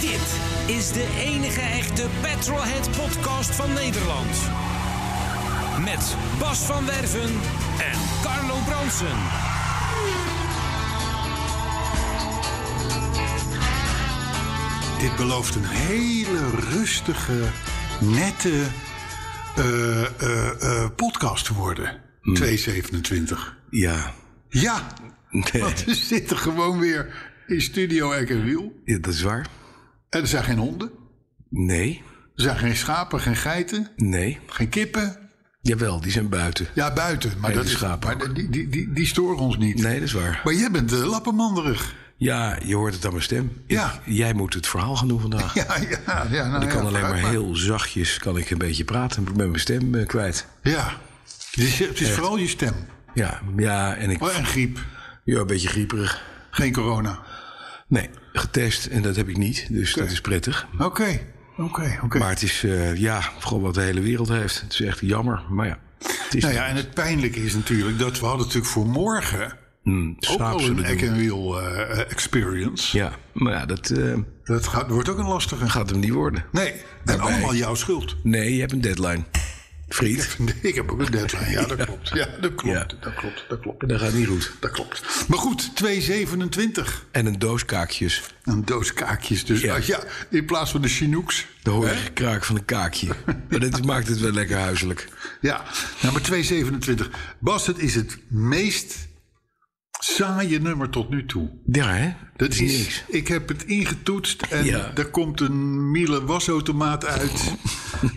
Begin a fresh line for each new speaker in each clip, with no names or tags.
Dit is de enige echte Petrolhead podcast van Nederland. Met Bas van Werven en Carlo Bronsen.
Dit belooft een hele rustige, nette eh, eh, eh, podcast te worden.
Hm.
227.
Ja.
Ja,
Nee,
want we zitten gewoon weer in Studio Eck en Wiel.
ja, dat is waar.
En er zijn geen honden,
Nee,
er zijn geen schapen, geen geiten,
nee.
geen kippen.
Jawel, die zijn buiten.
Ja, buiten, maar,
Nee,
dat
die
is,
schapen
maar die, die, die, die storen ons niet.
Nee, dat is waar.
Maar jij bent eh, lappenmanderig.
Ja, je hoort het aan mijn stem. Ik-
Ja.
jij moet het verhaal gaan doen vandaag.
Ja, ja, ja. Nou,
ik kan
ja,
alleen maar
vooruit
heel zachtjes kan ik een beetje praten. Ik ben mijn stem eh, kwijt.
Ja, het is, het is vooral je stem.
Ja, ja en ik...
Oh, en griep,
Ja, een beetje grieperig.
geen corona.
Nee, getest en dat heb ik niet. Dus dat is prettig.
Oké, oké, oké.
Maar het is, eh, ja, gewoon wat de hele wereld heeft. Het is echt jammer, maar ja. Het is
Nou ja, en het pijnlijke is natuurlijk dat we hadden natuurlijk voor morgen
mm,
ook
saap
al
zullen
Oh, een
doen.
Eck and Wheel eh, experience.
Ja, maar ja, dat eh,
Dat gaat, wordt ook een lastige.
gaat hem niet worden.
Nee, en allemaal jouw schuld.
Nee, je hebt een deadline. Vriend.
Ik heb ook een deadline. Ja, dat klopt. Ja, dat klopt.
Ja.
Dat klopt. Dat klopt.
Dat gaat niet goed.
Dat klopt. Maar goed, 2,27.
En een doos kaakjes.
Een doos kaakjes. Dus
Ja.
ja. ja, in plaats van de Chinooks.
De hoorige kraak van een kaakje. Maar dat maakt het wel lekker huiselijk.
Ja, nou, nummer 2,27. Bas, het is het meest saaie nummer tot nu toe.
Ja, hè?
Dat is, ik heb het ingetoetst en
Ja.
er komt een Miele wasautomaat uit.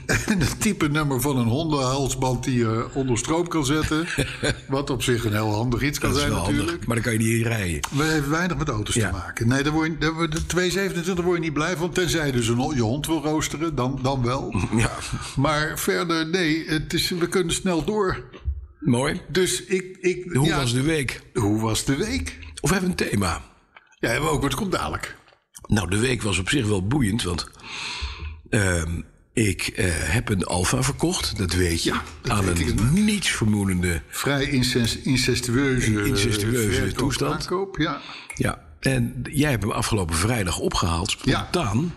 en een type nummer van een hondenhalsband die je onder stroom kan zetten. Wat op zich een heel handig iets kan
Dat is
zijn
wel
natuurlijk.
handig. Maar dan kan je niet in rijden.
We hebben weinig met auto's
Ja.
te maken. Nee, daar word je, daar word je, 227 word je niet blij van. Tenzij je dus een, ho- je hond wil roosteren, dan, dan wel.
Ja.
Maar verder, nee, het is, we kunnen snel door.
Mooi.
Dus ik... ik
Hoe
ja,
was de week?
hoe was de week?
Of hebben we een thema?
Ja, hebben we ook, maar het komt dadelijk.
Nou, de week was op zich wel boeiend, want... ehm, ik eh, heb een Alfa verkocht, dat weet je.
Ja, dat
aan
weet ik
een nietsvermoedende...
vrij incest, incestueuze,
Incestueuze
verkoop,
toestand.
Aankoop, ja.
Ja, en jij hebt hem afgelopen vrijdag opgehaald, spontaan.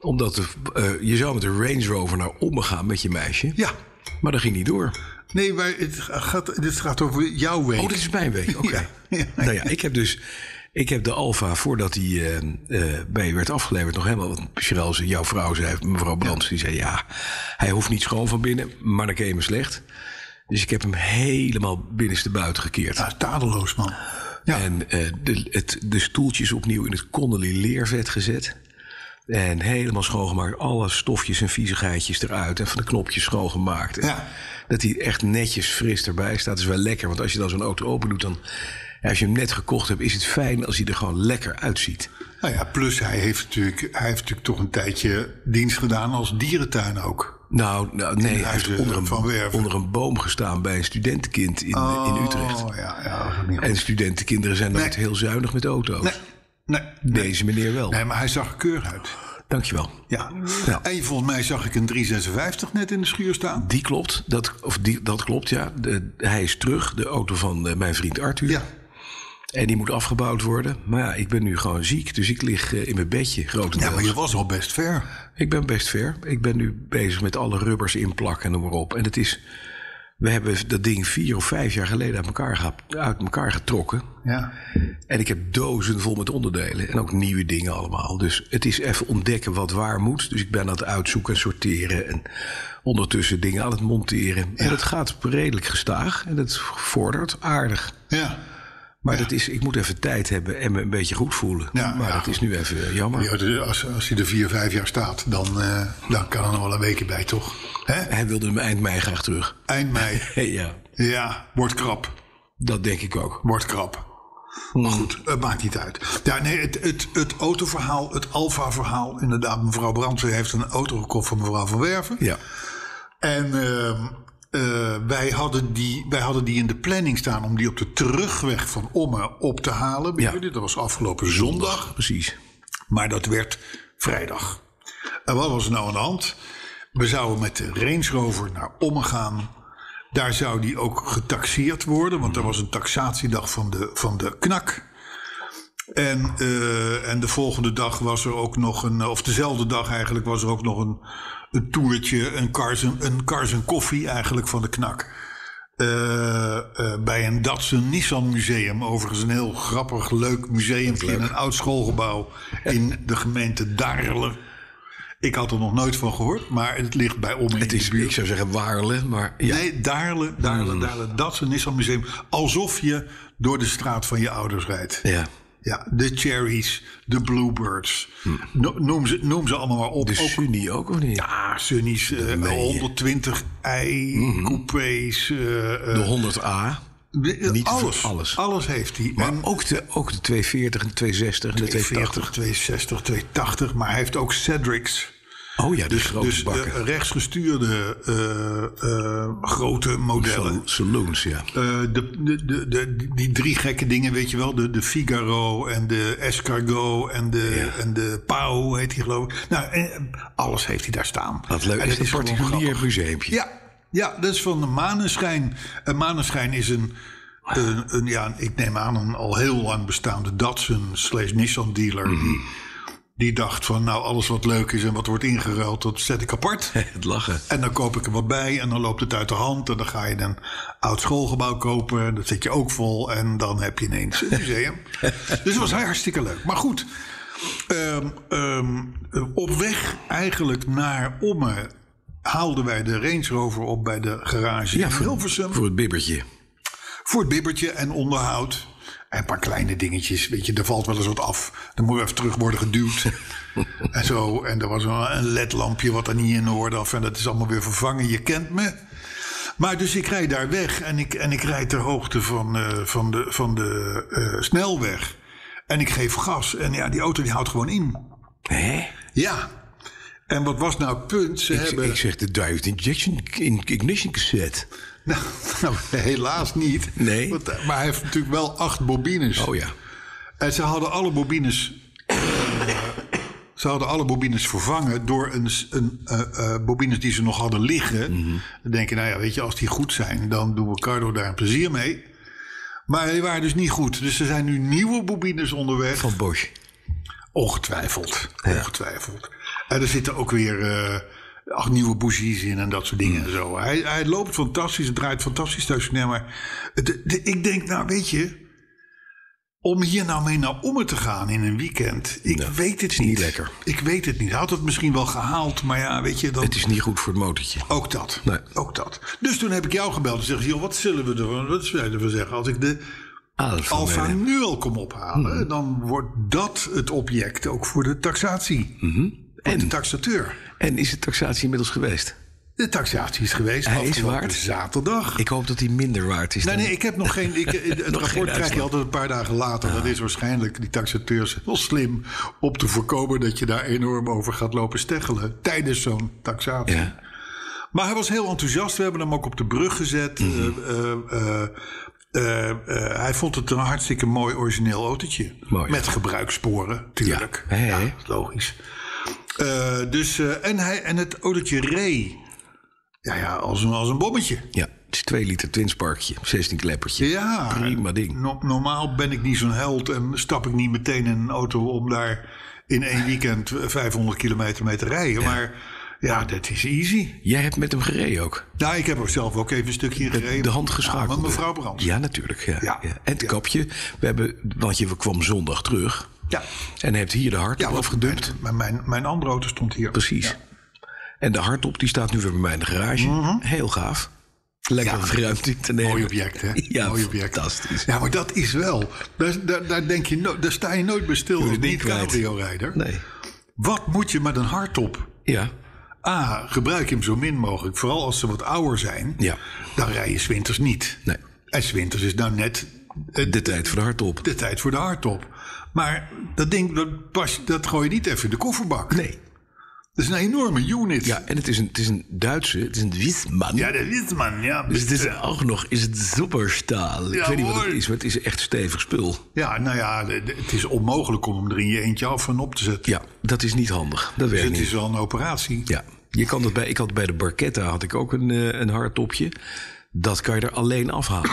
Omdat de, eh, je zou met een Range Rover naar Ommen gaan met je meisje.
ja.
Maar dat ging niet door.
Nee, maar het gaat, dit gaat over jouw week.
Oh, dit is mijn week. Oké.
Ja, ja.
Nou ja, ik heb dus. Ik heb de Alfa, voordat hij eh, eh, bij je werd afgeleverd, nog helemaal. Want Cheryl, zei- jouw vrouw, zei, mevrouw Brands, die zei: Ja, hij hoeft niet schoon van binnen, maar dan ken je hem slecht. Dus ik heb hem helemaal binnenstebuiten gekeerd.
Ja, tadeloos, man. Ja.
En eh, de, het, de stoeltjes opnieuw in het Connolly leervet gezet. En helemaal schoongemaakt. Alle stofjes en viezigheidjes eruit. En van de knopjes schoongemaakt. En
Ja.
Dat hij echt netjes fris erbij staat is wel lekker. Want als je dan zo'n auto open doet, dan... ja, Als je hem net gekocht hebt, is het fijn als hij er gewoon lekker uitziet.
Nou ja, plus hij heeft, natuurlijk, hij heeft natuurlijk toch een tijdje dienst gedaan als dierentuin ook.
Nou, nou nee, hij
huizen
heeft onder
van
een,
Werven.
onder een boom gestaan bij een studentenkind in, in Utrecht.
Oh ja, ja dat is ook niet goed.
En studentenkinderen zijn nooit heel zuinig met auto's.
Nee, nee, nee.
Deze meneer wel.
Nee, maar hij zag er keurig uit.
Dankjewel.
Ja.
Ja.
En volgens mij zag ik een 356 net in de schuur staan.
Die klopt, dat, of die, dat klopt, ja. De- hij is terug, de auto van eh, mijn vriend Arthur.
Ja.
En die moet afgebouwd worden. Maar ja, ik ben nu gewoon ziek, dus ik lig eh, in mijn bedje
Ja,
grotendeels.
maar je was al best ver.
Ik ben best ver. Ik ben nu bezig met alle rubbers inplakken en noem maar op. En het is, we hebben dat ding vier of vijf jaar geleden uit elkaar, geha- uit elkaar getrokken.
Ja.
En ik heb dozen vol met onderdelen. En ook nieuwe dingen allemaal. Dus het is even ontdekken wat waar moet. Dus ik ben aan het uitzoeken en sorteren. En ondertussen dingen aan het monteren. En het gaat redelijk gestaag. En het vordert aardig.
Ja.
Maar dat is, ik moet even tijd hebben en me een beetje goed voelen.
Ja,
maar
ja.
dat is nu even eh, jammer.
Ja, dus als, als hij er vier, vijf jaar staat, dan, eh, dan kan er nog wel een weekje bij, toch? Hè?
Hij wilde hem eind mei graag terug.
Eind mei.
Hé, ja,
Ja, wordt krap.
dat denk ik ook.
Wordt krap. Maar goed, het maakt niet uit. Ja, nee, het, het, het autoverhaal, het Alfa-verhaal. Inderdaad, mevrouw Brandsen heeft een auto gekocht van mevrouw Van Werven.
Ja.
En ehm, eh, wij, hadden die, wij hadden die in de planning staan om die op de terugweg van Omme op te halen. bij
Ja.
jullie. Dat was afgelopen zondag.
Precies.
Maar dat werd vrijdag. En wat was er nou aan de hand? We zouden met de Range Rover naar Ommen gaan. Daar zou die ook getaxeerd worden, want er
Mhm.
was een taxatiedag van de, van de knak. En, eh, en de volgende dag was er ook nog een, eh, of dezelfde dag eigenlijk, was er ook nog een, een toertje, een cars, en- een cars en koffie eigenlijk van de knak. Eh, eh, bij een Datsun Nissan museum. Overigens een heel grappig, leuk museum in een oud schoolgebouw in de gemeente Daarle. Ik had er nog nooit van gehoord, maar het ligt bij om in
Het
de
is,
buurt.
ik zou zeggen, waarle, maar ja.
Nee, Daarle, Daarle, Daarle, Datsun Nissan museum. Alsof je door de straat van je ouders rijdt.
ja.
Ja, de Cherries, de Bluebirds. No- Noem, ze, noem ze allemaal maar op.
Hm. De
Ook
Sunny ook, of niet?
Ah, Sunny's, eh, 120 ei,
Mhm.
coupés. eh, eh,
De 100A.
de- eh,
Niet te ver-
alles,
alles.
alles. heeft hij.
Maar
En
ook de, ook de 240 en de 260 en de
240,
280.
260, 280. Maar hij heeft ook Cedrics.
Oh ja, die grote
Dus
bakken.
de rechtsgestuurde eh, eh, grote modellen.
Sal- Saloons, ja.
Eh, de, de, de, de- die drie gekke dingen, weet je wel. De, de Figaro en de Escargot en de, en de Pau heet die geloof ik. Nou, eh, alles heeft hij daar staan.
Wat leuk.
En
Echt
het
een
gewoon
particulier
grappig.
museumpje.
Ja, ja, dat is van de Maneschijn. En Maneschijn is een, een, een- ja, ik neem aan, een al heel lang bestaande Datsun slash Nissan dealer.
Mhm.
Die, die dacht van, nou, alles wat leuk is en wat wordt ingeruild, dat zet ik apart.
Het lachen.
En dan koop ik er wat bij en dan loopt het uit de hand. En dan ga je een oud schoolgebouw kopen. en Dat zit je ook vol. En dan heb je ineens een museum. dus het was hartstikke leuk. Maar goed, ehm, ehm, op weg eigenlijk naar Ommen haalden wij de Range Rover op bij de garage
Ja,
in
voor,
Hilversum.
voor het bibbertje.
Voor het bibbertje en onderhoud. En een paar kleine dingetjes. Weet je, er valt wel eens wat af. Dan moet je even terug worden geduwd. en zo. En er was een een ledlampje wat er niet in hoorde af. En dat is allemaal weer vervangen. Je kent me. Maar dus ik rijd daar weg. En ik, en ik rijd ter hoogte van, eh, van de, van de eh, snelweg. En ik geef gas. En ja, die auto die houdt gewoon in.
Hè?
Ja. En wat was nou het punt? Ze
Ik,
hebben...
ik zeg de Dived Injection in- Ignition Cassette.
Nou, nou, helaas niet.
Nee.
Want, eh, maar hij heeft natuurlijk wel acht bobines.
Oh ja.
En ze hadden alle bobines. eh, ze hadden alle bobines vervangen door een, s- een eh, eh, bobines die ze nog hadden liggen. Dan denk je, nou ja, weet je, als die goed zijn, dan doen we Cardo daar een plezier mee. Maar die waren dus niet goed. Dus er zijn nu nieuwe bobines onderweg.
Van Bosch.
Ongetwijfeld. Ongetwijfeld. En er zitten ook weer eh, acht nieuwe bougies in en dat soort
Mm.
dingen. en Zo. Hij, hij loopt fantastisch, het draait fantastisch stationair. Maar het- de- ik denk, nou weet je, om hier nou mee naar Ommen te gaan in een weekend. Ik weet het
is
niet.
niet lekker.
Ik weet het niet. Hij had het misschien wel gehaald, maar ja, weet je, dan...
Het is niet goed voor het motortje.
Ook dat.
Nee.
Ook dat. Dus toen heb ik jou gebeld en zeg joh, wat zullen we ervan wat zullen we zeggen als ik de
Alfa.
Alfa
Meijer.
nu al kom ophalen,
Hmm.
dan wordt dat het object ook voor de taxatie.
Mm-hmm.
En de taxateur.
En is de taxatie inmiddels geweest?
De taxatie is geweest
Hij is
afgelopen
waard?
zaterdag.
Ik hoop dat die minder waard is.
nee,
dan-
nee, ik heb nog geen. Ik, het rapport
geen
krijg je
uitslag. Ah.
altijd een paar dagen later. Dat is waarschijnlijk die taxateurs heel slim om te voorkomen dat je daar enorm over gaat lopen steggelen tijdens zo'n taxatie.
Ja.
Maar hij was heel enthousiast. We hebben hem ook op de brug gezet.
Mhm.
Eh, eh, eh, eh, eh, hij vond het een hartstikke mooi origineel autootje.
Mooi.
Met gebruikssporen, tuurlijk.
Ja. Hè, hè?
dat is logisch. Eh, dus, eh, en, hij, en het autootje reed ja, ja, als, een, als een bommetje.
Ja, het is 2 liter twinsparkje, 16 kleppertje.
Ja,
Prima ding.
no- normaal ben ik niet zo'n held en stap ik niet meteen in een auto om daar in één weekend 500 kilometer mee te rijden. Maar ja, dat is easy.
Jij hebt met hem gereden ook.
Nou, ik heb er zelf ook even een stukje in gereden.
De hand
Ja,
geschakeld.
met mevrouw Brands.
Ja, natuurlijk. Ja.
Ja.
Ja. En het kapje. We hebben, want je kwam zondag terug.
Ja.
En hebt hier de hardtop
Ja, want
afgedumpt.
Mijn, mijn, mijn andere auto stond hier.
Precies. En de hardtop die staat nu weer bij mij in de garage. Heel gaaf. Lekker
Mhm. Ja.
ruimte te nemen.
Mooi object, hè?
Ja,
Mooi object.
fantastisch.
Ja, maar dat is wel. Daar, daar, daar denk je, no- daar sta je nooit bij stil.
Doe
Als
het niet
niet
kwijt.
cabrio-rijder.
Nee.
Wat moet je met een hardtop?
Ja.
A, gebruik hem zo min mogelijk. Vooral als ze wat ouder zijn.
Ja.
Dan rij je 's winters niet.
Nee.
En 's winters is nou net
de tijd voor de hardop.
de tijd voor de hardtop. Maar dat ding, dat, pas, dat gooi je niet even in de kofferbak.
Nee.
Dat is een enorme unit.
Ja, en het is een, het is een Duitse, het is een Wiesman.
Ja, dat is man. Ja,
dus het is ook nog, is het superstaal. Ik
Ja,
weet niet wat het
hoor.
is, maar het is echt stevig spul.
ja nou ja, de- de- het is onmogelijk om hem er in je eentje af en op te zetten.
Ja, dat is niet handig. Dat
dus
werkt
het
niet.
is wel een operatie.
Ja, je kan dat bij, ik had bij de Barquetta had ik ook een, eh, een hardtopje. Dat kan je er alleen afhalen.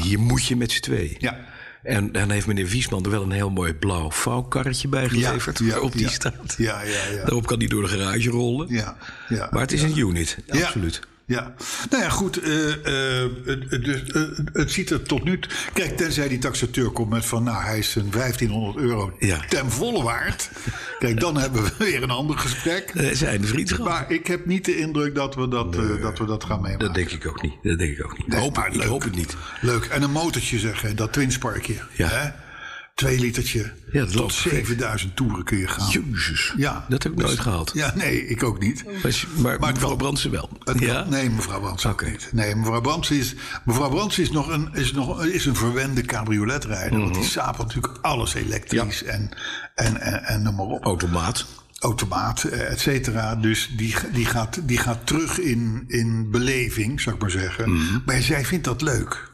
Hier moet je met z'n twee.
Ja.
En dan heeft meneer Wiesman er wel een heel mooi blauw vouwkarretje bij geleverd.
ja,
waarop die
ja.
staat.
Ja, ja, ja.
Daarop kan die door de garage rollen.
Ja, ja.
Maar het is een unit, absoluut.
Ja, nou ja, goed. eh, eh, eh, eh, dus, eh, het ziet er tot nu toe. Kijk, tenzij die taxateur komt met van. Nou, hij is een 1500 euro
Ja.
ten volle waard. Kijk, dan hebben we weer een ander gesprek.
Eh, zijn vriendschap.
Maar ik heb niet de indruk dat we dat, eh, dat, we dat gaan meemaken.
dat denk ik ook niet. Dat denk ik ook niet. hoop,
maar
ik
leuk.
hoop het niet.
Leuk. En een motortje zeg, hè, dat twinsparkje.
Ja.
Hè? Twee litertje.
Ja, dat
tot
loopt gek.
7000 toeren kun je gaan.
Jezus.
Ja. Dus-
Dat heb ik nooit gehaald.
Ja, nee, ik ook niet.
Maar, maar,
Maar het
mevrouw
kan.
Brandsen wel.
Het
ja?
kan- nee, mevrouw Brands ook
Oké.
niet. Nee, mevrouw Brands is, mevrouw Brands is, nog een, is, nog, is een verwende cabrioletrijder. Want
Mhm.
die sapelt natuurlijk alles elektrisch en, en, en, en noem maar op.
Oh. Automaat.
Automaat, eh, et cetera. Dus die, die, gaat, die gaat terug in, in beleving, zou ik maar zeggen.
Mhm.
Maar zij vindt dat leuk.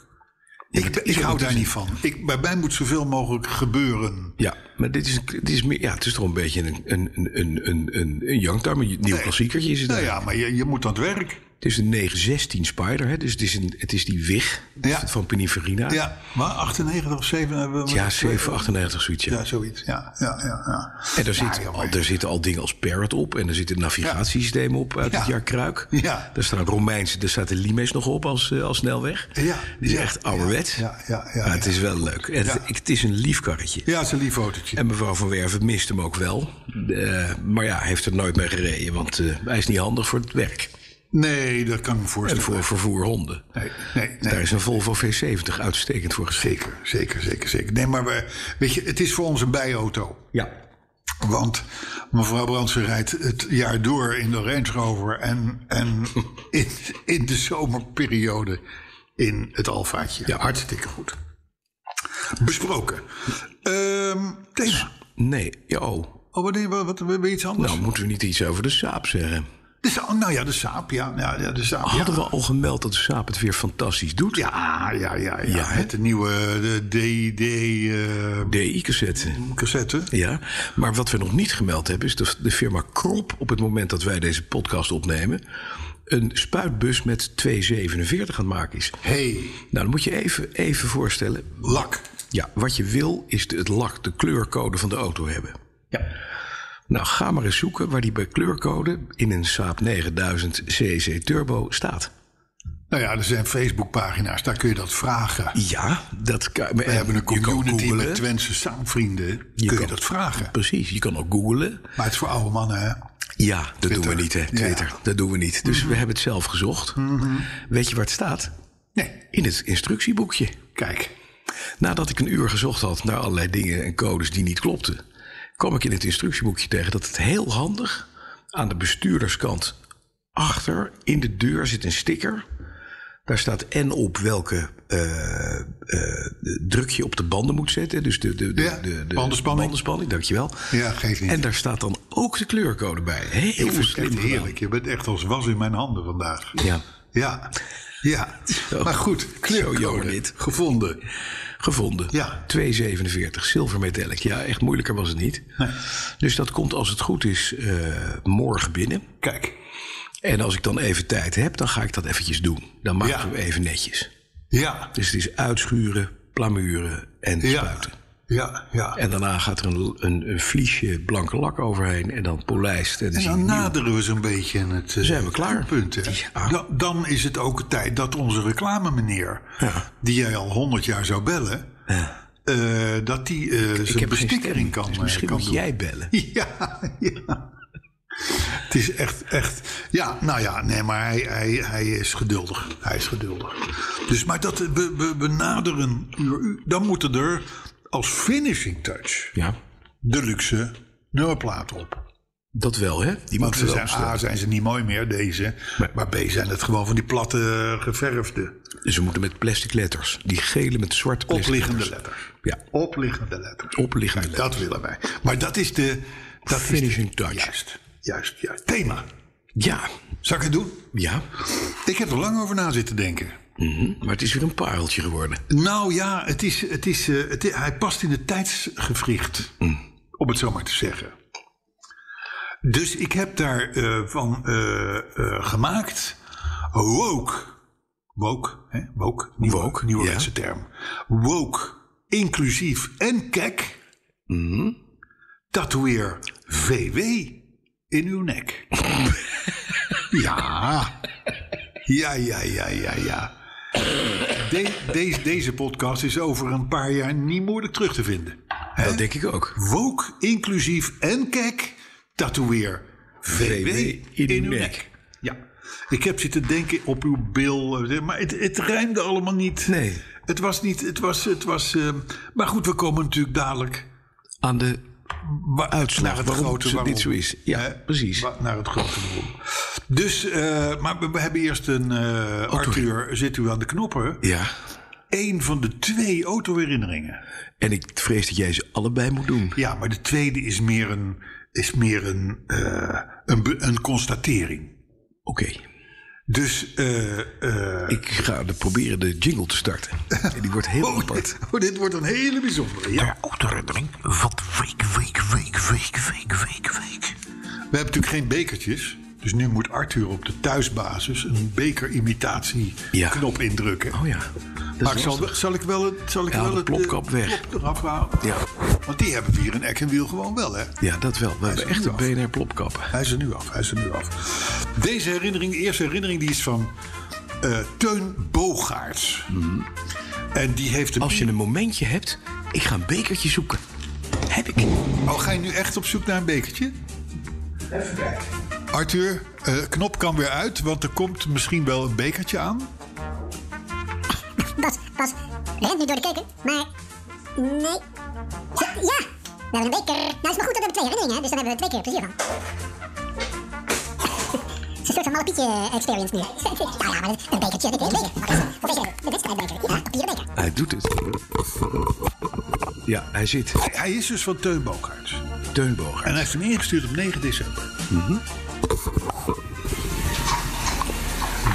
Ik, ben- ik hou daar
dus-
niet van. Ik, bij mij moet zoveel mogelijk gebeuren.
Ja, maar dit is, dit is meer, ja, het is toch een beetje een, een, een, een, een, een youngtimer, een nieuw klassiekertje is het
Nou
eigenlijk.
ja, maar je, je moet aan het werk.
Het is een 916 Spider, hè, dus het is, een, het is die wig
Ja.
van Pininfarina.
Ja, maar 98 of 7 hebben we.
Ja, 798 zoiets, ja.
Ja, zoiets. Ja, ja, ja. ja.
En daar, zit
joh,
al, daar zitten al dingen als Parrot op. En er zit een navigatiesysteem op uit het
Ja.
jaar Kruik.
Ja.
Daar staan Romeinse, daar staat de Limes nog op als, eh, als snelweg.
Ja,
Die is
ja,
echt ouderwets.
ja, ja, ja,
maar het
ja.
is wel leuk. En
Ja.
Het, ik- het is een lief karretje.
Ja, het is een lief autootje.
En mevrouw Van Werven mist hem ook wel. Eh, maar ja, hij heeft er nooit mee gereden. Want eh, hij is niet handig voor het werk.
Nee, dat kan ik me
En
voorstellen.
voor vervoer honden.
Nee, nee, nee.
Daar is een Volvo V70 uitstekend voor geschikt.
Zeker, zeker, zeker, zeker. Nee, maar we, weet je, het is voor ons een bijauto.
Ja.
Want mevrouw Brandsen rijdt het jaar door in de Range Rover... en, en in, in de zomerperiode in het Alfaatje. Ja, hartstikke goed. Besproken. Ehm thema.
Nee, ja, oh.
Oh, wat, wat, wat, wat iets anders?
Nou, moeten we niet iets over de saap zeggen?
De Saab- nou ja, de Saab, ja. ja, ja de Saab, ja.
Hadden we al gemeld dat Oh, de saap het weer fantastisch doet?
Ja, ja, ja, ja.
Ja, hè?
Met de nieuwe eh, de eh, DD-cassette.
DI-cassette. Ja, maar wat we nog niet gemeld hebben... is dat de firma Krop op het moment dat wij deze podcast opnemen... een spuitbus met 247 aan het maken is.
hey,
Nou, dan moet je even, even voorstellen.
lak.
Ja, wat je wil is de, het lak, de kleurcode van de auto hebben.
Ja.
Nou, ga maar eens zoeken waar die bij kleurcode... in een Saab 9000 CC Turbo staat.
Nou ja, er zijn Facebookpagina's, daar kun je dat vragen.
Ja, dat kan...
We hebben een community met
googelen.
Twentse saamvrienden. kun je
kan-
dat vragen.
Precies, je kan ook googlen.
Maar het is voor oude mannen, hè?
Ja, Mhm. dat doen
Twitter.
we niet, hè? Twitter.
Ja.
Dat doen we niet. Dus we hebben het zelf gezocht. Weet je waar het staat?
Nee,
In het instructieboekje.
kijk.
Nadat ik een uur gezocht had naar allerlei dingen en codes die niet klopten, kwam ik in het instructieboekje tegen dat het heel handig aan de bestuurderskant achter in de deur zit een sticker. Daar staat en op welke eh, eh, druk je op de banden moet zetten. Dus de, de, de,
Ja,
de, de
bandenspanning.
bandenspanning, dankjewel.
Ja, geeft niet.
En daar staat dan ook de kleurcode bij. Heel
Ik vind het
slim
echt
gedaan.
heerlijk. Je bent echt als was in mijn handen vandaag.
Ja.
Ja. Ja.
Zo.
Maar goed,
jammer
kleurcode
dit.
gevonden.
Gevonden.
Ja.
2,47 zilvermetallic. Ja, echt moeilijker was het niet. Dus dat komt als het goed is eh, morgen binnen.
Kijk.
En als ik dan even tijd heb, dan ga ik dat eventjes doen. Dan maken
Ja.
we hem even netjes.
Ja.
Dus het is uitschuren, plamuren en
Ja.
spuiten.
Ja. Ja.
En daarna gaat er een, een, een vliesje blanke lak overheen en dan polijst. En dan
En
zie
dan
je
naderen we zo'n beetje in het eh,
Zijn we klaar?
punt. hè?
Ja.
Da- dan is het ook tijd dat onze reclamemeneer, die jij al honderd jaar zou bellen, eh, dat die eh, zijn
heb geen
bestikkering
stem,
kan,
dus
eh,
misschien
kan
moet
doen.
jij bellen.
Ja, ja. Het is echt, echt. Ja, nou ja, nee, maar hij, hij, hij is geduldig. Hij is geduldig. Dus, maar dat, eh, we, we, we naderen uur, uur. Dan moeten er als finishing touch
Ja,
de luxe nummerplaat op.
Dat wel, hè? Die
Want
moeten
ze
wel
zijn,
bestellen.
A zijn ze niet mooi meer, deze.
Nee.
Maar B zijn het gewoon van die platte eh, geverfde,
Ze moeten met plastic letters. Die gele met zwarte plastic
opliggende
letters.
letters.
Ja.
Opliggende letters.
Opliggende
Kijk, Dat willen wij. Maar dat is de... Dat is de-
Finishing touch.
Juist, juist, juist. Thema.
Ja,
Zal ik het doen?
ja.
Ik heb er lang over na zitten denken.
Mhm. Maar het is weer een pareltje geworden.
Nou ja, het is, het is, eh, het i- hij past in het tijdsgevricht,
Mm.
om het zo maar te zeggen. Dus ik heb daarvan van eh, eh, gemaakt woke. Woke, hè? woke, nieuwe,
Woke,
nieuwe
ja.
wetse term. Woke, inclusief en kek.
Mm-hmm.
Tatoeëer VW in uw nek. ja. Ja, ja, ja, ja, ja. De- deze, deze podcast is over een paar jaar niet moeilijk terug te vinden.
Dat denk ik ook.
Woke, inclusief en kijk, tatoeëer. VW in uw nek. Ja. Ik heb zitten denken op uw bil, eh, maar het, het rijmde allemaal niet.
Nee.
Het was niet, het was, het was... eh, maar goed, we komen natuurlijk dadelijk
Aan de
wa-
uitslag
naar het
waarom
grote
ze- dit
waarom.
zo is. Ja,
Hè?
precies.
Wa- Naar het grote waarom. Dus, eh, maar we, we hebben eerst een... eh, Arthur, zit u aan de knoppen?
Ja.
Eén van de twee autoherinneringen.
En ik vrees dat jij ze allebei moet doen.
Ja, maar de tweede is meer een, is meer een, eh, een, be- een constatering.
Oké.
Dus, eh, eh,
Ik ga de, proberen de jingle te starten. En die wordt heel apart.
oh, dit wordt een hele bijzondere. Ja.
Autoherinnering. Wat week, week, week, week, week, week, week.
We hebben natuurlijk geen bekertjes. Dus nu moet Arthur op de thuisbasis een bekerimitatie
Ja.
knop indrukken.
Oh ja.
maar ik zal, zal ik wel het, zal ik
Ja,
wel
de
het,
plopkap
eh,
weg.
plop eraf halen?
Ja.
Want die hebben we hier in Eck en Wiel gewoon wel, hè?
Ja, dat wel. We hebben
is
echt een
nu af.
BNR-plopkappen.
Hij is er nu af, hij is er nu af. Deze herinnering, de eerste herinnering, die is van eh, Teun Bogaerts. En die heeft een...
Als je een momentje hebt, ik ga een bekertje zoeken. Heb ik.
Oh, ga je nu echt op zoek naar een bekertje? Even kijken. Arthur, eh, knop kan weer uit, want er komt misschien wel een bekertje aan.
Bas, Bas, rent nu door de keuken, maar nee. Ja, ja, we hebben een beker. Nou is maar goed, dat hebben we twee herinneringen, hè, dus dan hebben we twee keer plezier van. Het is een soort van malapietje eh, experience nu. Ja, ja, maar dat- een bekertje, dit is een beker. Wat is dat? Wat is dat? Een wedstrijdbeker. Ja, papieren beker.
Hij doet het. Ja, hij zit.
Hij is dus van Teun Bogaerts. En hij
Teunboger.
heeft hem ingestuurd op 9 december.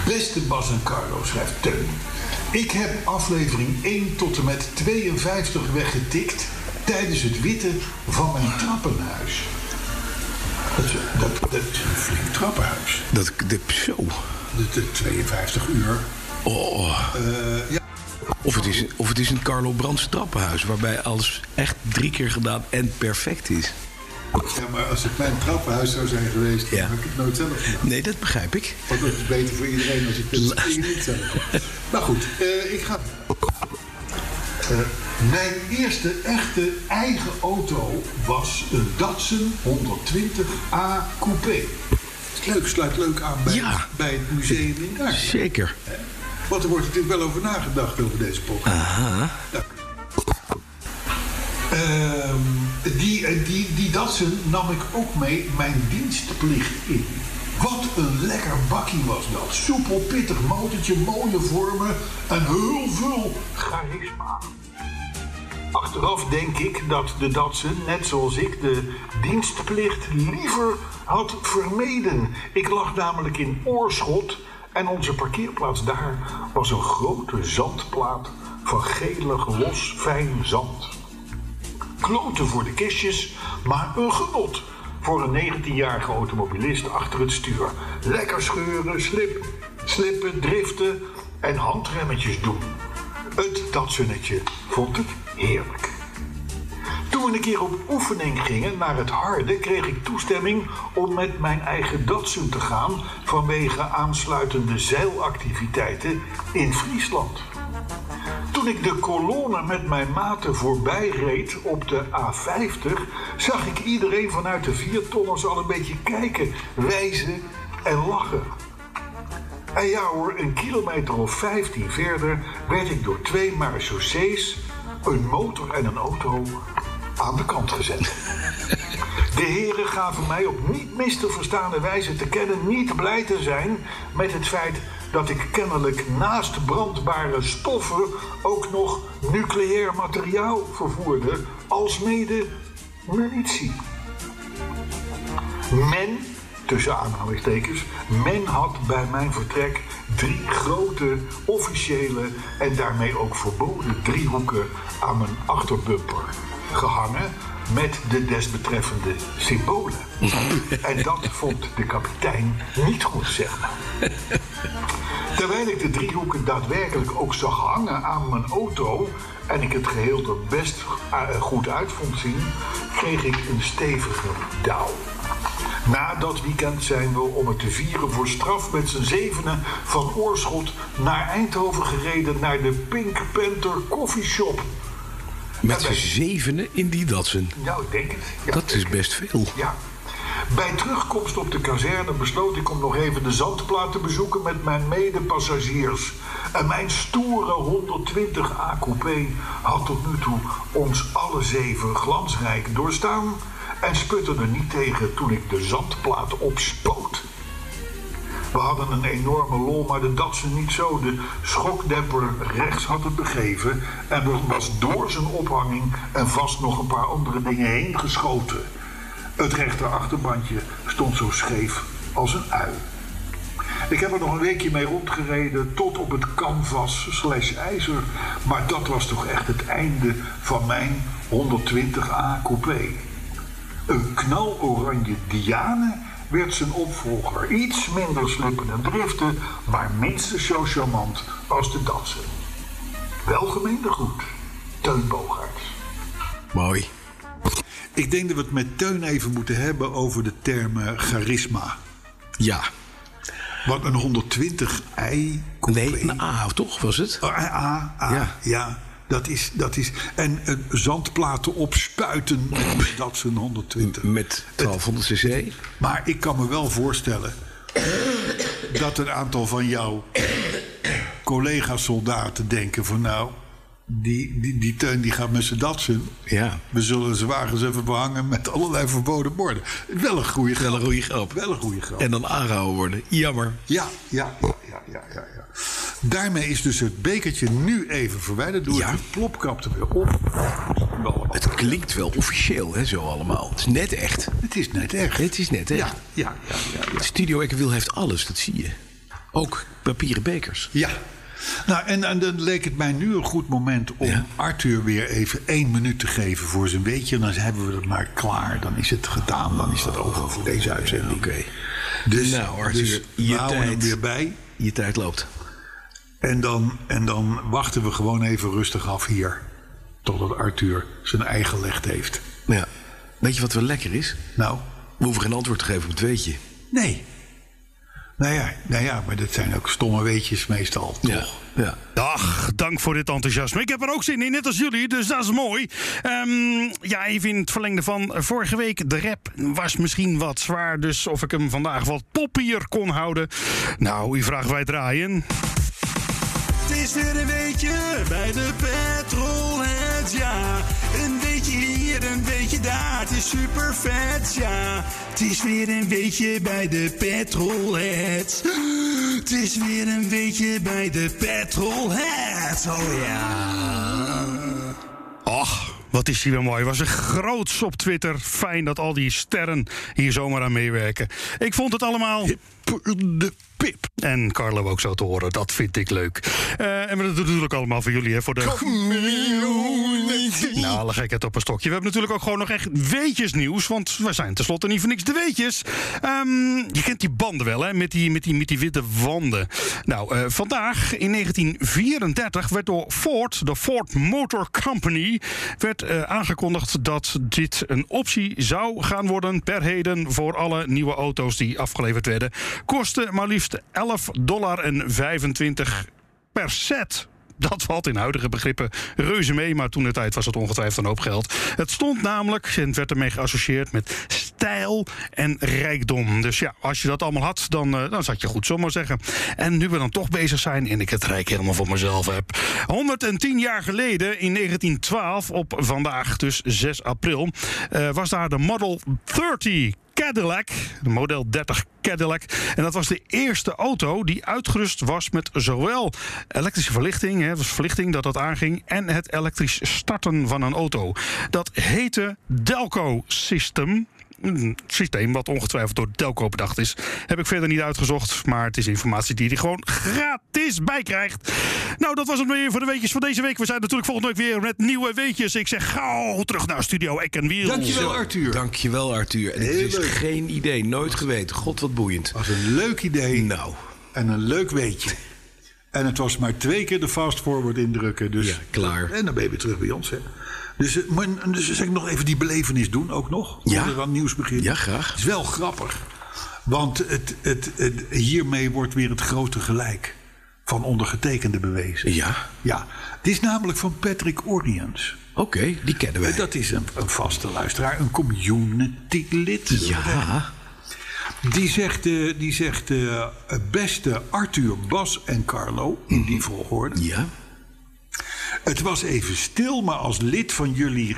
Beste Bas en Carlo, schrijft Teun. Ik heb aflevering 1 tot en met 52 weggetikt tijdens het witten van mijn trappenhuis. Dat, is- dat, dat is een flink trappenhuis.
Dat, de, zo.
De, de 52 uur.
Oh.
Eh, ja.
Of het, is, of het is een Carlo Brands trappenhuis, waarbij alles echt drie keer gedaan en perfect is.
ja, maar als het mijn trappenhuis zou zijn geweest,
Ja.
dan had ik het nooit zelf gedaan.
Nee, dat begrijp ik.
Want dat is beter voor iedereen als ik dit niet zelf kan. Nou goed, eh, ik ga. Eh, mijn eerste echte eigen auto was een Datsun 120A Coupé. Leuk, sluit leuk aan bij,
Ja.
bij het museum in Daar.
Zeker.
Want er wordt natuurlijk wel over nagedacht over deze podcast.
Aha.
Ehm, die, eh, die, die Datsun nam ik ook mee mijn dienstplicht in. Wat een lekker bakkie was dat. Soepel, pittig motortje, mooie vormen en heel veel charisma. Achteraf denk ik dat de Datsun, net zoals ik, de dienstplicht liever had vermeden. Ik lag namelijk in Oorschot en onze parkeerplaats daar was een grote zandplaat van gelig, los, fijn zand kloten voor de kistjes, maar een genot voor een 19-jarige automobilist achter het stuur. Lekker scheuren, slip, slippen, driften en handremmetjes doen. Het datsunnetje vond het heerlijk. Toen we een keer op oefening gingen naar het harde, kreeg ik toestemming om met mijn eigen Datsun te gaan vanwege aansluitende zeilactiviteiten in Friesland. Toen ik de kolonne met mijn maten voorbij reed op de A50, zag ik iedereen vanuit de viertonners al een beetje kijken, wijzen en lachen. En ja hoor, een kilometer of 15 verder werd ik door twee marechaussees, een motor en een auto aan de kant gezet. De heren gaven mij op niet mis te verstaande wijze te kennen niet blij te zijn met het feit dat ik kennelijk naast brandbare stoffen ook nog nucleair materiaal vervoerde, alsmede munitie. Men, tussen aanhalingstekens, men had bij mijn vertrek drie grote officiële en daarmee ook verboden driehoeken aan mijn achterbumper gehangen met de desbetreffende symbolen. En dat vond de kapitein niet goed, zeg maar. Terwijl ik de driehoeken daadwerkelijk ook zag hangen aan mijn auto en ik het geheel er best eh, goed uit vond zien, kreeg ik een stevige douw. Na dat weekend zijn we om het te vieren voor straf met z'n zevenen van Oorschot naar Eindhoven gereden naar de Pink Panther Coffee Shop.
Met z'n zevenen in die datsen.
Nou, ik denk het. Ja,
Dat is best veel.
Ja. Bij terugkomst op de kazerne besloot ik om nog even de zandplaat te bezoeken met mijn medepassagiers. En mijn stoere 120 A-coupé had tot nu toe ons alle zeven glansrijk doorstaan en sputte er niet tegen toen ik de zandplaat opspoot. We hadden een enorme lol, maar de Datsen niet zo. De schokdemper rechts had het begeven en er was door zijn ophanging en vast nog een paar andere dingen heen geschoten. Het rechterachterbandje stond zo scheef als een ui. Ik heb er nog een weekje mee rondgereden tot op het canvas slash ijzer. Maar dat was toch echt het einde van mijn 120a coupé. Een knaloranje Diane werd zijn opvolger. Iets minder slippen en driften, maar minstens zo charmant als de dansen. Welgemeende goed, Teun Bogaerts.
Mooi.
Ik denk dat we het met Teun even moeten hebben over de term eh, charisma.
Ja.
Want een 120 ei.
Nee, een A toch was het?
Ah, ah, ah,
Ja.
ja. Dat is, dat is. En eh, zandplaten opspuiten met dat zijn 120.
Met 1200 cc.
Maar ik kan me wel voorstellen dat een aantal van jouw collega-soldaten denken van nou, die, die, die teun die gaat met z'n datsen.
Ja.
We zullen zijn wagens even behangen met allerlei verboden borden. Wel een goede grap.
Wel een goede grap.
Wel een goede grap.
En dan aangehouden worden. Jammer.
Ja, ja, ja, ja, ja, ja, ja. Daarmee is dus het bekertje nu even verwijderd. Doe
Ja.
het plopkap Oh, er weer op.
Het klinkt wel officieel, hè, zo allemaal. Het is net echt.
Het is net echt.
Het is net echt.
Ja, ja, ja, ja. ja.
Studio Ekkerwiel heeft alles, dat zie je. Ook papieren bekers.
Ja. Nou, en, en dan leek het mij nu een goed moment om
Ja.
Arthur weer even één minuut te geven voor zijn weetje. En dan hebben we het maar klaar. Dan is het gedaan. Dan is dat over voor deze uitzending.
Oké.
Dus,
Nou, Arthur,
dus
je
we houden hem
tijd.
weer bij.
Je tijd loopt.
En dan, en dan wachten we gewoon even rustig af hier. Totdat Arthur zijn eigen legt heeft.
Ja. Weet je wat wel lekker is?
Nou,
We hoeven geen antwoord te geven op het weetje.
nee. Nou ja, nou ja, maar dat zijn ook stomme weetjes meestal, toch?
Ja. ja.
Dag, dank voor dit enthousiasme. Ik heb er ook zin in, net als jullie, dus dat is mooi. Ehm, ja, even in het verlengde van eh, vorige week. De rap was misschien wat zwaar, dus of ik hem vandaag wat poppier kon houden. Nou, u vraagt wij draaien.
Het is weer een beetje bij de petrolheads, ja. Een beetje hier, een beetje daar, het is super vet, ja. Het is weer een beetje bij de petrolheads. Het is weer een beetje bij de petrolheads, oh ja.
Ach, wat is die weer mooi. Was er groots op Twitter. Fijn dat al die sterren hier zomaar aan meewerken. Ik vond het allemaal... De pip. En Carlo ook zo te horen. Dat vind ik leuk. Eh, en we doen het natuurlijk allemaal voor jullie, hè. Voor de... Nou, alle gekheid op een stokje. We hebben natuurlijk ook gewoon nog echt weetjesnieuws. Want we zijn tenslotte niet voor niks de weetjes. Ehm, je kent die banden wel, hè? Met die, met die, met die witte wanden. Nou, eh, vandaag in 1934 werd door Ford, de Ford Motor Company... werd eh, aangekondigd dat dit een optie zou gaan worden... per heden voor alle nieuwe auto's die afgeleverd werden. Kostte maar liefst 11 dollar en 25 per set. Dat valt in huidige begrippen reuze mee, maar toen de tijd was het ongetwijfeld een hoop geld. Het stond namelijk en werd ermee geassocieerd met stijl en rijkdom. Dus ja, als je dat allemaal had, dan, eh, dan zat je goed, zomaar zeggen. En nu we dan toch bezig zijn en ik het rijk helemaal voor mezelf heb. 110 jaar geleden, in 1912, op vandaag, dus 6 april, eh, was daar de Model 30 Cadillac, de model 30 Cadillac. En dat was de eerste auto die uitgerust was met zowel elektrische verlichting, hè, dus verlichting dat dat aanging, en het elektrisch starten van een auto. Dat heette Delco System. Een systeem wat ongetwijfeld door Delco bedacht is. Heb ik verder niet uitgezocht, maar het is informatie die je er gewoon gratis bij krijgt. Nou, dat was het weer voor de weetjes van deze week. We zijn natuurlijk volgende week weer met nieuwe weetjes. Ik zeg gauw terug naar Studio Eck en Wiel.
Dankjewel, Arthur.
Dankjewel, Arthur. En het
Heel
is
leuk.
geen idee, nooit geweten. God, wat boeiend.
was een leuk idee
Nou,
en een leuk weetje. En het was maar twee keer de fast forward indrukken. Dus
Ja, klaar.
En dan ben je weer terug bij ons. Hè. Dus, eh, maar, dus zeg ik nog even die belevenis doen ook nog.
Ja.
Voordat we aan nieuws beginnen.
Ja, graag.
Het is wel grappig. Want het, het, het, hiermee wordt weer het grote gelijk van ondergetekende bewezen.
ja,
Ja, dit is namelijk van Patrick Oriens.
oké, die kennen wij.
Dat is een, een vaste luisteraar, een community-lid.
Ja,
Die zegt, eh, die zegt eh, beste Arthur, Bas en Carlo, in die volgorde.
Mhm. ja.
Het was even stil, maar als lid van jullie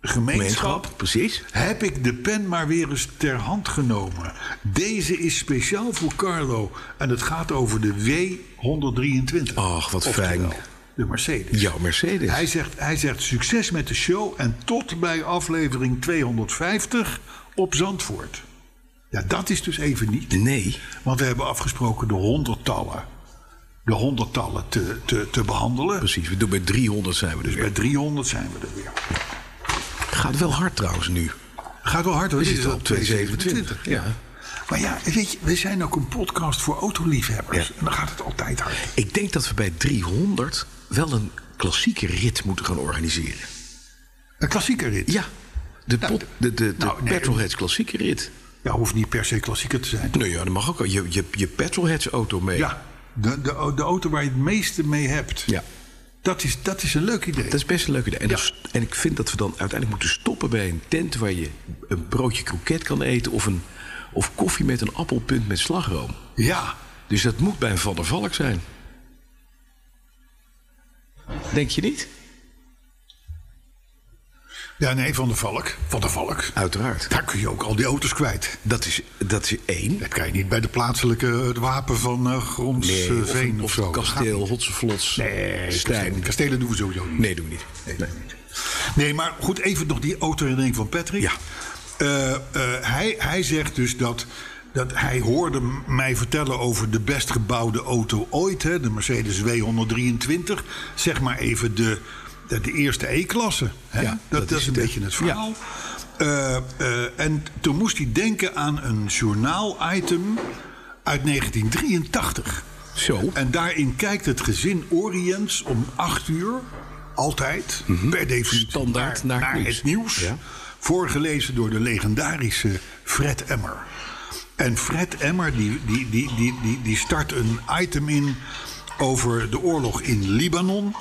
gemeenschap
Gemeenschap, precies.
heb ik de pen maar weer eens ter hand genomen. Deze is speciaal voor Carlo en het gaat over de W123.
Ach, wat
Oftewel,
fijn.
De Mercedes.
Jouw Mercedes.
Hij zegt, hij zegt succes met de show en tot bij aflevering 250 op Zandvoort. Ja, dat is dus even niet.
Nee.
Want we hebben afgesproken de honderdtallen, de honderdtallen te, te, te behandelen.
Precies, we doen bij 300 zijn we er
Dus bij
weer.
300 zijn we er weer.
Gaat wel hard trouwens nu.
Gaat wel hard hoor.
We
dit
zitten
al
op 227. Ja.
Maar ja, weet je, we zijn ook een podcast voor autoliefhebbers.
Ja.
En dan gaat het altijd hard.
Ik denk dat we bij 300 wel een klassieke rit moeten gaan organiseren.
Een klassieker rit.
Ja. De, pot, de, de, de
nou, nee.
Petrolheads klassieke rit.
Ja, hoeft niet per se klassieker te zijn.
Nou ja, dat mag ook. wel. Je, je, je Petrolheads auto mee.
Ja, de, de, de auto waar je het meeste mee hebt.
Ja.
Dat is, dat is een leuk idee.
Dat is best een leuk idee. En,
Ja.
dat is- en ik vind dat we dan uiteindelijk moeten stoppen bij een tent waar je een broodje kroket kan eten. Of, een, of koffie met een appelpunt met slagroom.
Ja,
Dus dat moet bij een Van der Valk zijn. Denk je niet?
ja, nee, Van der Valk. Van der Valk.
Uiteraard.
Daar kun je ook al die auto's kwijt.
Dat is, dat is één.
Dat kan je niet bij de plaatselijke eh, het wapen van eh Grondsveen
of, een-
of,
of
zo.
een
Dat gaat
kasteel,
niet.
Hotseflots,
Nee,
Stijn.
kastelen, kastelen doen we sowieso niet.
Nee, doen we niet. Nee.
Nee, maar goed, even nog die auto-herinnering van Patrick.
Ja.
Eh, eh, hij, hij zegt dus dat, dat hij hoorde m- mij vertellen over de best gebouwde auto ooit. Hè, de Mercedes W123. Zeg maar even de, de, de eerste E-klasse. hè.
Ja,
dat,
dat
dat is
is
een
het, hè.
beetje het verhaal. Eh, eh, en toen moest hij denken aan een journaal-item uit 1983.
Zo.
En daarin kijkt het gezin Orients om 8 uur, altijd,
Mhm.
per definitie,
Standaard
naar,
naar het
naar het nieuws.
Ja.
Voorgelezen door de legendarische Fred Emmer. En Fred Emmer die, die, die, die, die, die start een item in over de oorlog in Libanon.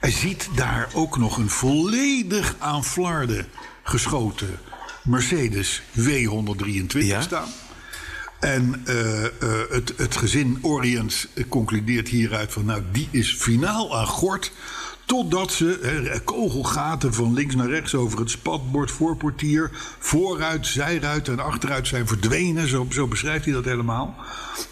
Hij ziet daar ook nog een volledig aan flarden geschoten Mercedes W123
Ja.
staan. En eh, eh, het, het gezin Orients concludeert hieruit van... nou, die is finaal aan gort... totdat ze hè, kogelgaten van links naar rechts over het spatbord, voorportier... vooruit, zijruit en achteruit zijn verdwenen. Zo, zo beschrijft hij dat helemaal.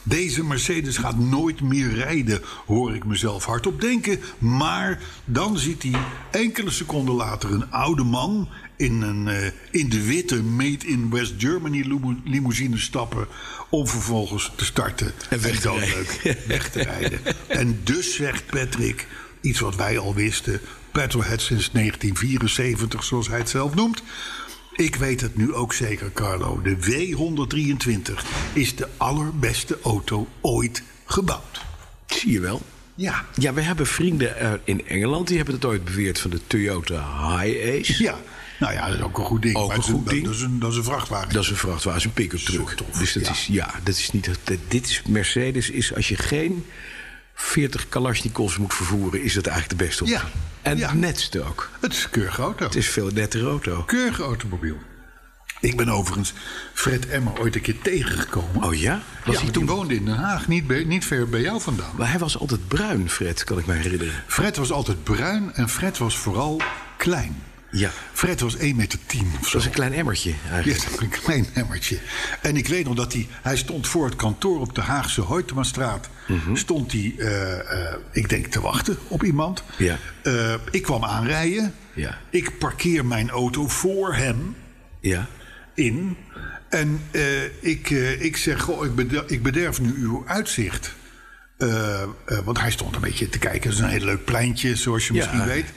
Deze Mercedes gaat nooit meer rijden, hoor ik mezelf hardop denken. Maar dan ziet hij enkele seconden later een oude man in, een, eh, in de witte Made in West Germany limo- limousine stappen. Om vervolgens te starten. En
weg te
dan
rijden.
leuk weg te rijden. En dus zegt Patrick iets wat wij al wisten. Petrolhead sinds 1974, zoals hij het zelf noemt. Ik weet het nu ook zeker, Carlo. De W123 is de allerbeste auto ooit gebouwd.
Zie je wel.
Ja.
Ja, we hebben vrienden eh, in Engeland. Die hebben het ooit beweerd van de Toyota High Ace.
Ja. Nou ja, dat is ook een goed ding.
Ook
maar
een
het is
goed ding.
Dat is een, dat is een vrachtwagen.
Dat is een vrachtwagen, een pick-up truck.
tof,
Dus dat
ja.
is, ja, dat is niet. dat- dit is, Mercedes is, als je geen 40 Kalashnikovs moet vervoeren, is dat eigenlijk de beste optie.
Ja,
En
ja.
het netste ook.
Het is een keurige auto.
Het is veel nettere auto.
keurige automobiel. Ik ben overigens Fred Emmer ooit een keer tegengekomen.
Oh ja? Was
ja,
hij
hij
toen-
die woonde in Den Haag, niet, bij- niet ver bij jou vandaan.
Maar hij was altijd bruin, Fred, kan ik me herinneren.
Fred was altijd bruin en Fred was vooral klein.
Ja.
Fred was 1,10 meter of zo.
Dat was een klein emmertje
Ja,
eigenlijk.
dat is een klein emmertje. En ik weet nog dat hij... Hij stond voor het kantoor op de Haagse Hoytemastraat.
Mhm.
Stond hij, eh, eh, ik denk, te wachten op iemand.
Ja.
Eh, ik kwam aanrijden.
Ja.
Ik parkeer mijn auto voor hem
Ja.
in. En eh, ik, eh, ik zeg, goh, ik, bederf, ik bederf nu uw uitzicht. Eh, eh, want hij stond een beetje te kijken. Het is een heel leuk pleintje, zoals je
Ja.
misschien weet.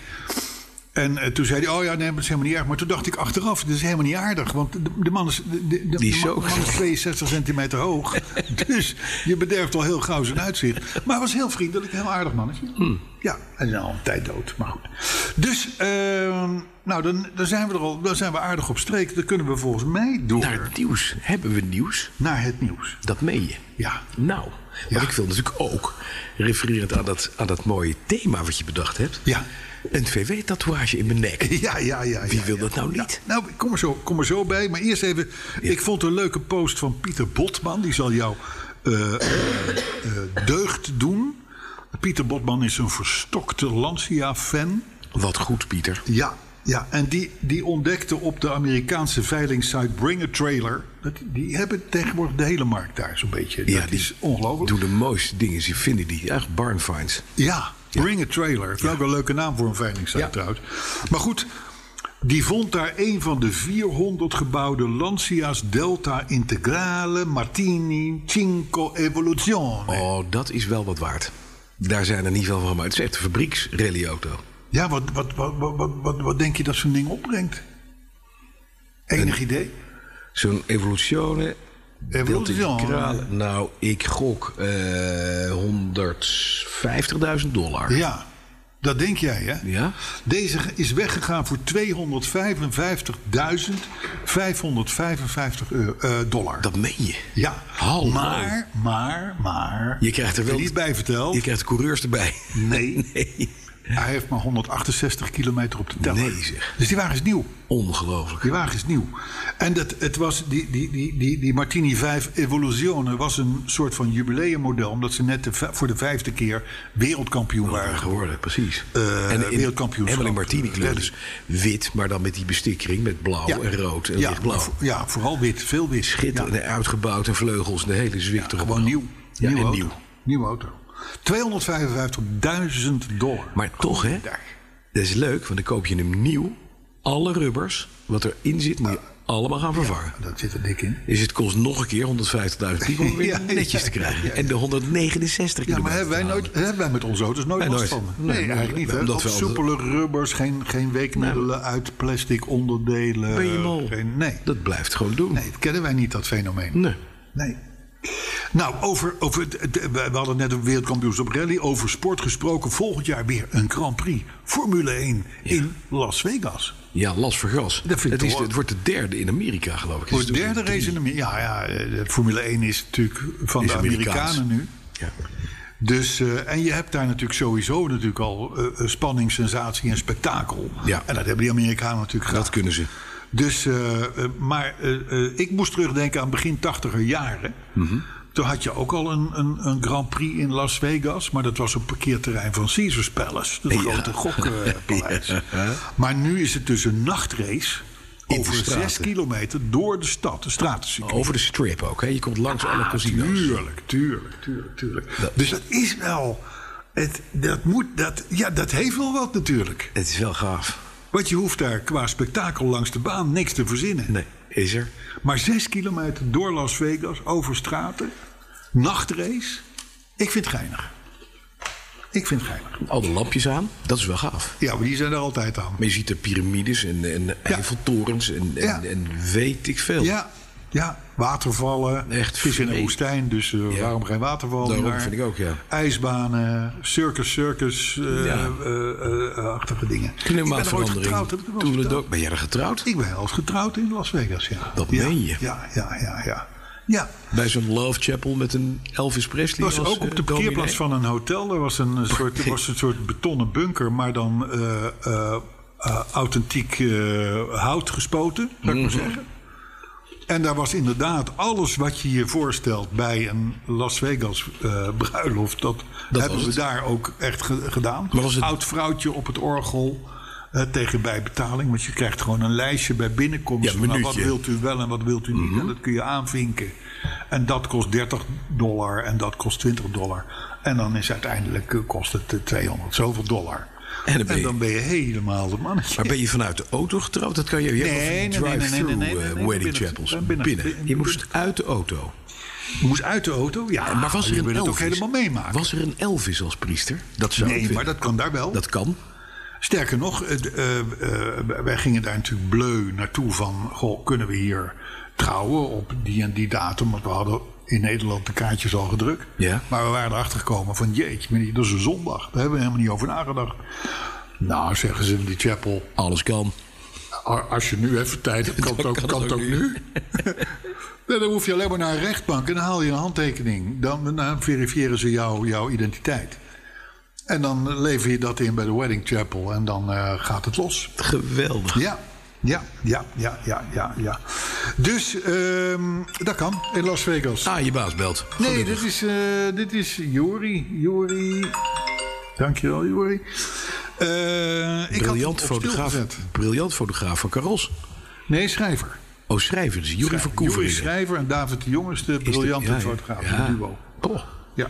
En eh, toen zei hij, oh ja, nee, dat is helemaal niet erg. Maar toen dacht ik achteraf, dat is helemaal niet aardig. Want de, de man is, de, de, de
Die is
man-
ook-
de man is 62 centimeter hoog. dus je bederft al heel gauw zijn uitzicht. Maar hij was heel vriendelijk, een heel aardig mannetje. Ja, hij is al een tijd dood, maar goed. Dus, ehm, nou, dan, dan zijn we er al, dan zijn we aardig op streek. Dan kunnen we volgens mij door
Naar het nieuws. Hebben we nieuws?
naar het nieuws.
Dat meen je.
Ja.
Nou,
Ja.
want ik wil natuurlijk ook, refererend aan dat, aan dat mooie thema wat je bedacht hebt,
Ja.
een VW-tatoeage in mijn nek.
Ja, ja, ja.
Wie
ja,
wil
ja.
dat nou niet?
Ja, nou, ik kom er, zo, kom er zo bij. Maar eerst even, ik vond een leuke post van Pieter Botman. Die zal jou eh, eh, eh, deugd doen. Pieter Botman is een verstokte Lancia-fan.
Wat goed, Pieter.
Ja, ja. en die, die ontdekte op de Amerikaanse veilingsite Bring a Trailer... Dat, die hebben tegenwoordig de hele markt daar zo'n beetje. Ja, dat
die
is ongelooflijk.
Doen de mooiste dingen. Ze vinden die echt barn finds.
Ja, Bring a Trailer. Is Wel een leuke naam voor een veilingsite
Ja.
trouwens. Maar goed, die vond daar een van de 400 gebouwde Lancia's Delta Integrale Martini Cinco Evoluzione.
Oh, dat is wel wat waard. Daar zijn er niet veel van, maar het is echt een fabrieksrallyauto.
Ja, wat, wat, wat, wat, wat, wat, wat denk je dat zo'n ding opbrengt? Enig idee?
Zo'n Evoluzione.
Evoluzione.
Evoluzione. Nou, ik gok eh 150.000 dollar.
Ja, dat denk jij, hè?
Ja.
Deze is weggegaan voor 255.555 euro- eh, dollar.
Dat meen je.
Ja,
Hallo.
maar, maar, maar.
Je krijgt er
heb
wel-
niet bij verteld.
Je krijgt de coureurs erbij.
Nee.
Nee.
Hij heeft maar 168 kilometer op de teller.
Nee, zeg.
Dus die wagen is nieuw.
Ongelooflijk.
Die wagen is nieuw. En dat, het was die, die, die, die, die Martini 5 Evoluzione was een soort van jubileummodel. Omdat ze net de v- voor de vijfde keer wereldkampioen waren.
geworden, precies.
Eh, wereldkampioenschap.
Hemmeling Martini kleur, dus wit, maar dan met die bestikkering met blauw en rood en
ja,
lichtblauw.
maar vo- ja, vooral wit. Veel wit.
Schitterend
Ja.
en uitgebouwd en vleugels en de hele zwik erop.
Gewoon nieuw.
Ja,
nieuw
en
auto.
nieuw.
Nieuwe auto. 255.000 dollar.
Maar toch, hè? Dat is leuk, want dan koop je hem nieuw. Alle rubbers, wat erin zit, moet je allemaal gaan vervangen.
Ah. Dat zit er dik in.
Dus het kost nog een keer 150.000 piek om hem weer
Ja, ja,
netjes te krijgen.
ja, ja.
En de 169
Ja, maar
kilometer
hebben wij,
te halen.
nooit, hebben wij met onze auto's nooit
nou- Nee,
last
nooit.
van?
Nee,
Nee,
nee,
eigenlijk niet. hè?
omdat
Wat
we altijd-
soepele rubbers, geen, geen weekmiddelen uit plastic onderdelen.
Ben je mal?
geen- nee.
Dat blijft gewoon doen.
nee, dat kennen wij niet, dat fenomeen.
Nee.
Nee. Nou, over, over het- het- we we hadden net een wereldkampioenschap rally. Over sport gesproken. Volgend jaar weer een Grand Prix. Formule 1 in Las Vegas.
Ja, last voor gras.
Dat vind ik
het, is,
toch ook.
het wordt de derde in Amerika, geloof ik.
Voor de
Het is
derde
drie-
race in de... Ja, ja, eh, de Formule 1 is natuurlijk van
Is
de
Amerikaans.
Amerikanen nu.
Ja.
Dus, eh, en je hebt daar natuurlijk sowieso natuurlijk al eh, eh, spanning, sensatie en spektakel.
Ja.
En dat hebben die Amerikanen natuurlijk graag.
Dat kunnen ze.
Dus, eh, eh, maar eh, eh, ik moest terugdenken aan begin tachtiger jaren.
Mhm.
Toen had je ook al een, een, een Grand Prix in Las Vegas. Maar dat was op parkeerterrein van Caesars Palace. Dat grote gokpaleis. Maar nu is het dus een nachtrace.
de
Over zes
straten.
kilometer door de stad. De stratencircuit.
Over de strip ook, hè? Je komt langs alle casinos.
Ah, Tuurlijk, tuurlijk, tuurlijk, tuurlijk. Dus dat is wel. Het, dat, moet, dat, ja, dat heeft wel wat natuurlijk.
Het is wel gaaf.
Want je hoeft daar qua spektakel langs de baan niks te verzinnen.
Nee, is er.
Maar zes kilometer door Las Vegas, over straten, nachtrace. Ik vind het geinig. Ik vind het geinig.
Al de lampjes aan, dat is wel gaaf.
Ja, maar die zijn er altijd aan.
Maar je ziet er piramides en, en Eiffeltorens en, en,
Ja.
en weet ik veel.
Ja, ja watervallen.
Echt
het is in een
vreemd.
woestijn, dus eh,
Ja.
waarom geen waterval?
Daarom
Maar
vind ik ook, ja.
Ijsbanen, circus, circus, eh,
Ja.
eh, eh, achtige dingen.
Klimaatverandering.
heb ik dat wel
Doen we dat
verteld?
ook? Ben jij er getrouwd?
Ik ben wel eens getrouwd in Las Vegas, ja.
Dat
ja,
meen je?
Ja, ja, ja, ja. Ja,
Bij zo'n Love Chapel met een Elvis Presley.
was
als,
ook op
eh,
de parkeerplaats
dominee.
van een hotel. Er was een eh, soort, er was een soort betonnen bunker, maar dan
Mhm.
eh, eh, eh, authentiek eh, hout gespoten, zou ik maar zeggen. En daar was inderdaad alles wat je je voorstelt bij een Las Vegas eh, bruiloft. Dat, hebben
was
we
het.
daar ook echt ge- gedaan.
Maar was het-
Oud vrouwtje op het orgel. eh, tegen bijbetaling, want je krijgt gewoon een lijstje bij binnenkomst.
Ja,
van, nou, wat
minuutje.
wilt u wel en wat wilt u niet?
Mhm.
En dat kun je aanvinken. En dat kost 30 dollar en dat kost 20 dollar. En dan is uiteindelijk eh, kost het eh, 200 zoveel dollar.
En dan ben je-
dan ben je helemaal de mannetje.
Maar ben je vanuit de auto getrouwd? Dat kan je. Je hebt
Nee,
al van
nee,
die
nee, nee, nee,
drive-through
nee, nee,
eh,
nee, nee,
wedding
binnen.
chapels.
Binnen.
Binnen.
Binnen.
Je moest uit de auto.
Je moest uit de auto. Ja,
maar was er
je
een
wil het ook
Elvis?
helemaal meemaken.
Was er een Elvis als priester? Dat zou ik
nee,
vinden.
maar dat kan daar wel.
Dat kan.
Sterker nog, het, eh, eh, wij gingen daar natuurlijk bleu naartoe van... Goh, kunnen we hier trouwen op die en die datum? Want we hadden in Nederland de kaartjes al gedrukt.
Ja.
Maar we waren erachter gekomen van... jeetje, meneer, dat is een zondag. Daar hebben we helemaal niet over nagedacht. Nou, zeggen ze in die chapel...
Alles kan.
A- Als je nu even tijd hebt, kan het
Dan
ook,
kan
kan
het
het ook
ook
nu. Nee, dan hoef je alleen maar naar een rechtbank en dan haal je een handtekening. Dan, eh, dan verifiëren ze jou, jouw identiteit. En dan lever je dat in bij de wedding chapel en dan eh, gaat het los.
Geweldig.
Ja, ja, ja, ja, ja, ja. ja. Dus ehm, dat kan in Las Vegas.
Ah, je baas belt.
Nee, dit is, eh dit is Jori. Jori. Dankjewel, Jori. Eh, ik had het
Briljant
op
fotograaf,
stilgezet.
briljant fotograaf van Caros.
Nee, schrijver.
Oh, schrijver. Dus Jurie van
Joeri
Koeveren.
Schrijver en David de Jong is de briljante
ja, ja.
fotograaf.
Ja.
Ja. Duo.
Oh,
Ja.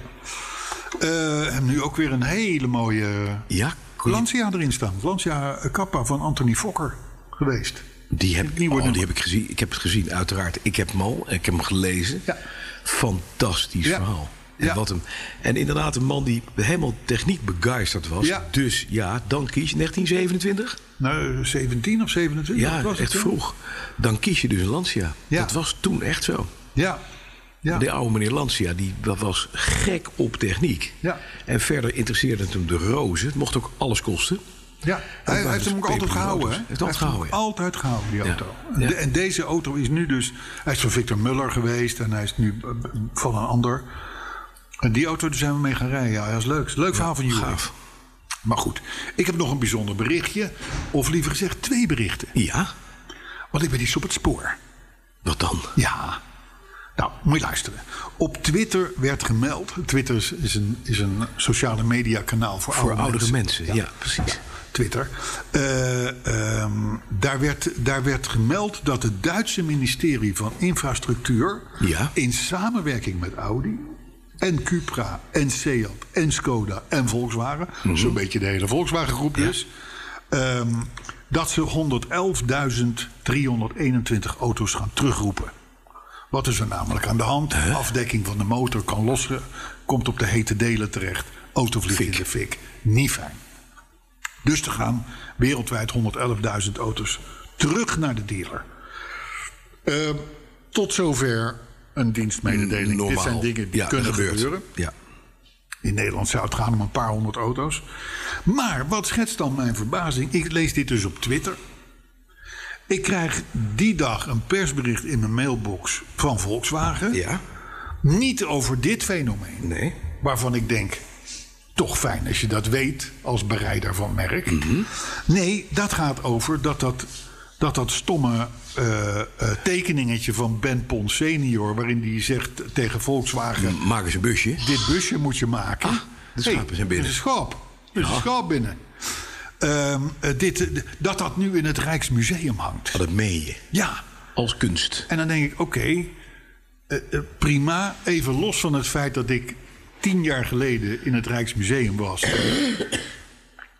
Eh, en nu ook weer een hele mooie
ja.
Lancia erin staan. Lancia Kappa van Anthony Fokker geweest.
Die heb,
nieuwe
oh, die
nummer.
heb ik gezien. Ik heb het gezien, uiteraard. Ik heb hem al. Ik heb hem gelezen.
Ja.
Fantastisch
Ja.
verhaal. En,
Ja.
wat hem, en inderdaad, een man die helemaal techniek begeisterd was.
Ja.
Dus ja, dan kies je 1927.
Nou, 17 of 27
Ja,
was het,
echt
hè?
vroeg. Dan kies je dus een Lancia.
Ja.
Dat was toen echt zo.
Ja. ja.
De oude meneer Lancia, die was gek op techniek.
Ja.
En verder interesseerde het hem de rozen. Het mocht ook alles kosten.
Ja, hij, hij
waren
heeft
dus
hem ook altijd
peperduur
gehouden.
auto's.
hè?
Hij heeft
Hij
altijd
hem
gehouden, ja.
Altijd gehouden, die auto.
Ja. Ja.
De- en deze auto is nu dus... Hij is van Victor Muller geweest en hij is nu eh, van een ander. En die auto daar zijn we mee gaan rijden. Ja, dat is leuk. Leuk verhaal van jullie.
gaaf.
Maar goed, ik heb nog een bijzonder berichtje. Of liever gezegd twee berichten.
Ja,
Want ik ben iets op het spoor.
wat dan?
Ja. Nou, moet je luisteren. Op Twitter werd gemeld... Twitter is- is een, is een sociale media kanaal voor,
Voor
oude
oudere mensen. Ja, precies.
Twitter. Eh, ehm, daar, werd, daar werd gemeld dat het Duitse ministerie van Infrastructuur...
Ja.
in samenwerking met Audi en Cupra en Seat en Skoda en Volkswagen... zo'n beetje de hele Volkswagen-groep dus... ehm, dat ze 111.321 auto's gaan terugroepen. Wat is er namelijk aan de hand? Afdekking van de motor kan lossen, komt op de hete delen terecht. Auto vliegt in de fik. Niet fijn. Dus er gaan wereldwijd 111.000 auto's terug naar de dealer. Eh, tot zover een dienstmededeling. Dit zijn dingen die
Ja,
kunnen
dat gebeurt.
gebeuren.
Ja.
In Nederland zou het gaan om een paar honderd auto's. Maar wat schetst dan mijn verbazing? Ik lees dit dus op Twitter. Ik krijg die dag een persbericht in mijn mailbox van Volkswagen.
ja,
Niet over dit fenomeen.
nee.
Waarvan ik denk, toch fijn als je dat weet als bereider van merk.
Mhm.
Nee, dat gaat over dat dat, dat, dat stomme eh, eh, tekeningetje van Ben Pon senior... waarin die zegt tegen Volkswagen,
Maak eens een busje.
dit busje moet je maken.
Mhm. Ah, de schapen zijn binnen.
Er is een schaap. Er is een schaap binnen. Ehm, eh, dit, eh, dat dat nu in het Rijksmuseum hangt.
Oh, Dat meen je.
Ja,
Als kunst.
en dan denk ik, oké, eh, eh, prima. Even los van het feit dat ik tien jaar geleden in het Rijksmuseum was.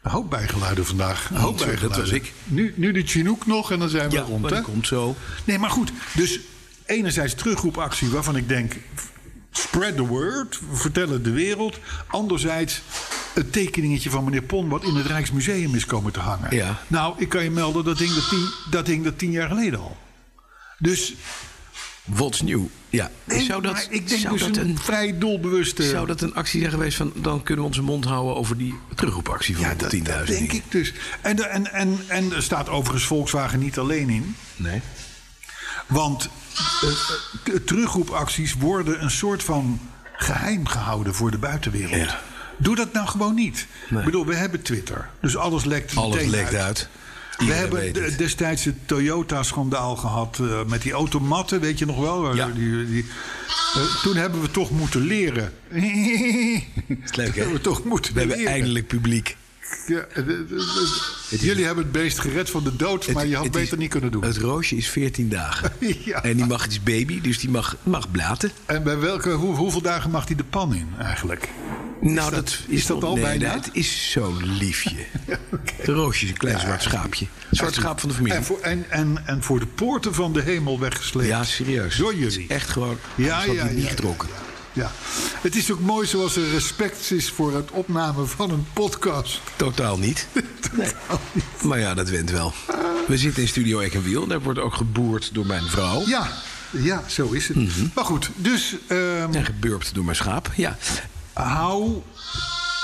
Een hoop bijgeluiden vandaag. Een hoop
Zo, dat
bijgeluiden.
was ik.
Nu, nu de Chinook nog en dan zijn we
Ja,
rond.
maar
hè?
die komt zo.
Nee, maar goed. Dus enerzijds terugroepactie waarvan ik denk... spread the word, vertel het de wereld. Anderzijds het tekeningetje van meneer Pon... wat in het Rijksmuseum is komen te hangen.
Ja.
Nou, ik kan je melden, dat ding dat tien, dat ding dat tien jaar geleden al. Dus
What's new? Ja.
Nee,
zou dat,
maar ik denk
zou
dus
dat
een,
een,
vrij doelbewuste...
zou dat een actie zijn geweest van... dan kunnen we onze mond houden over die terugroepactie van
ja, dat,
110.000
dat denk
dingen?
ik dus. En, de- en, en, en er staat overigens Volkswagen niet alleen in.
Nee.
Want eh, eh, t- terugroepacties worden een soort van geheim gehouden voor de buitenwereld.
Ja.
Doe dat nou gewoon niet. Ik bedoel, we hebben Twitter. Dus alles lekt
Alles
meteen
lekt uit.
We
Iedereen
hebben
weet
de-
het.
destijds het Toyota-schandaal gehad eh, met die automatten, weet je nog wel? Waar
Ja.
die- die- eh, toen hebben we toch moeten leren.
Is leuk, hè?
hebben we toch moeten
We hebben
leren.
eindelijk publiek.
Ja, eh, eh, eh, Jullie hebben het beest gered van de dood, maar
Het-
je had
het
beter
is-
niet kunnen doen.
Het roosje is 14 dagen.
Ja.
En die mag, het is baby, dus die mag, mag blaten.
En bij welke, hoe- hoeveel dagen mag hij de pan in eigenlijk?
Nou, dat,
is dat al
nee,
bijna?
nee, het is zo'n liefje. Het roosje is een klein zwart schaapje. Zwart schaap van de familie.
En voor, en, en, en voor de poorten van de hemel weggesleept.
Ja, serieus.
Door
Het
jullie.
is echt gewoon.
Ja,
Ja, ja,
ja,
niet
ja.
getrokken.
Ja. Het is ook mooi zoals er respect is voor het opnemen van een podcast.
Totaal niet. Nee. Maar ja, dat went wel. We zitten in Studio Eck en Wiel. Daar wordt ook geboerd door mijn vrouw.
Ja, ja zo is het.
Mhm.
Maar goed, dus ehm,
En gebeurd door mijn schaap. Ja.
hou...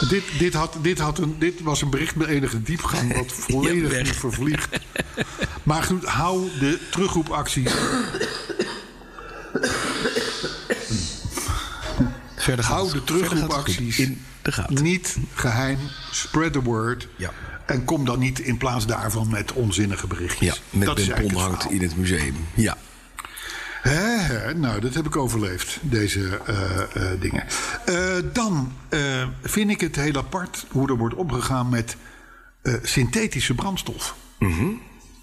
Dit, dit, had, dit, had een, dit was een bericht met enige diepgang, wat volledig
weg.
vervliegt. Maar goed, hou de terugroepacties
Verder gaat
Hou
het
de
goed. Verder gaat het goed.
terugroepacties
in de gaten.
Niet geheim, spread the word.
Ja.
En kom dan niet in plaats daarvan met onzinnige
Ja,
berichtjes.
met
dat is
Ben Pon
eigenlijk
hangt
het
in het museum. Ja.
verhaal. Hè, hè, nou, dat heb ik overleefd, deze eh, eh, dingen. Eh, dan eh, vind ik het heel apart hoe er wordt omgegaan met eh, synthetische brandstof.
Mhm.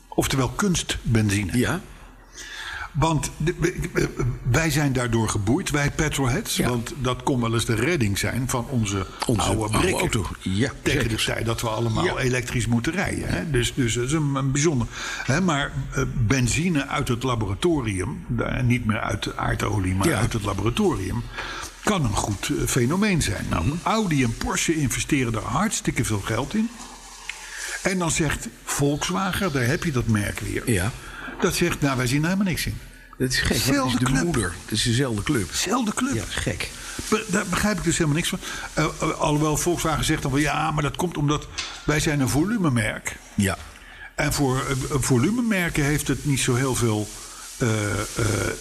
Oftewel kunstbenzine.
Ja.
Want de- we- we- wij zijn daardoor geboeid, wij petrolheads.
Ja.
Want dat kon wel eens de redding zijn van onze,
Onze
oude
oude
brikken.
auto. Ja,
Tegen
zeker.
de tijd dat we allemaal
Ja.
elektrisch moeten rijden. Hè? Dus, dus dat is een, een bijzonder. Hè? Maar eh, benzine uit het laboratorium, daar- niet meer uit de aardolie, maar
Ja.
uit het laboratorium... kan een goed eh, fenomeen zijn. Nou,
Mhm.
Audi en Porsche investeren daar hartstikke veel geld in. En dan zegt Volkswagen, daar heb je dat merk weer...
Ja.
dat zegt, nou, wij zien er helemaal niks in.
Dat is gek. want Het is
Zelfde
de
club.
moeder. Het is dezelfde club.
Zelfde club.
Ja, gek.
Be- daar begrijp ik dus helemaal niks van. Eh, eh, alhoewel Volkswagen zegt dan wel ja, maar dat komt omdat wij zijn een volumemerk.
Ja.
En voor eh, volumemerken heeft het niet zo heel veel eh, eh,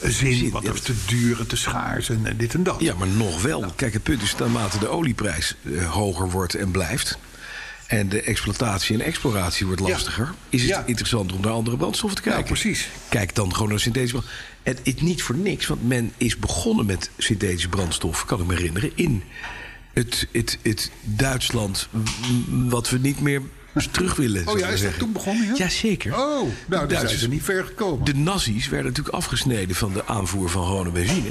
zin.
Zin,
want
ja.
dat is te duur en te schaars en eh, dit en dat.
Ja, maar nog wel. Kijk, het punt is naarmate de olieprijs eh, hoger wordt en blijft. En de exploitatie en exploratie wordt
Ja.
lastiger. Is het
Ja.
interessant om naar andere brandstoffen te kijken?
precies.
Kijk dan gewoon naar synthetische brandstof. Het is niet voor niks, want men is begonnen met synthetische brandstof, kan ik me herinneren, in het, het, het Duitsland, m, wat we niet meer terug willen. zullen
Oh
we
ja, is dat
zeggen.
toen begonnen, ja?
Jazeker.
Oh, nou,
De
daar zijn
Duitsers-
ze niet ver gekomen.
De nazi's werden natuurlijk afgesneden van de aanvoer van gewone benzine.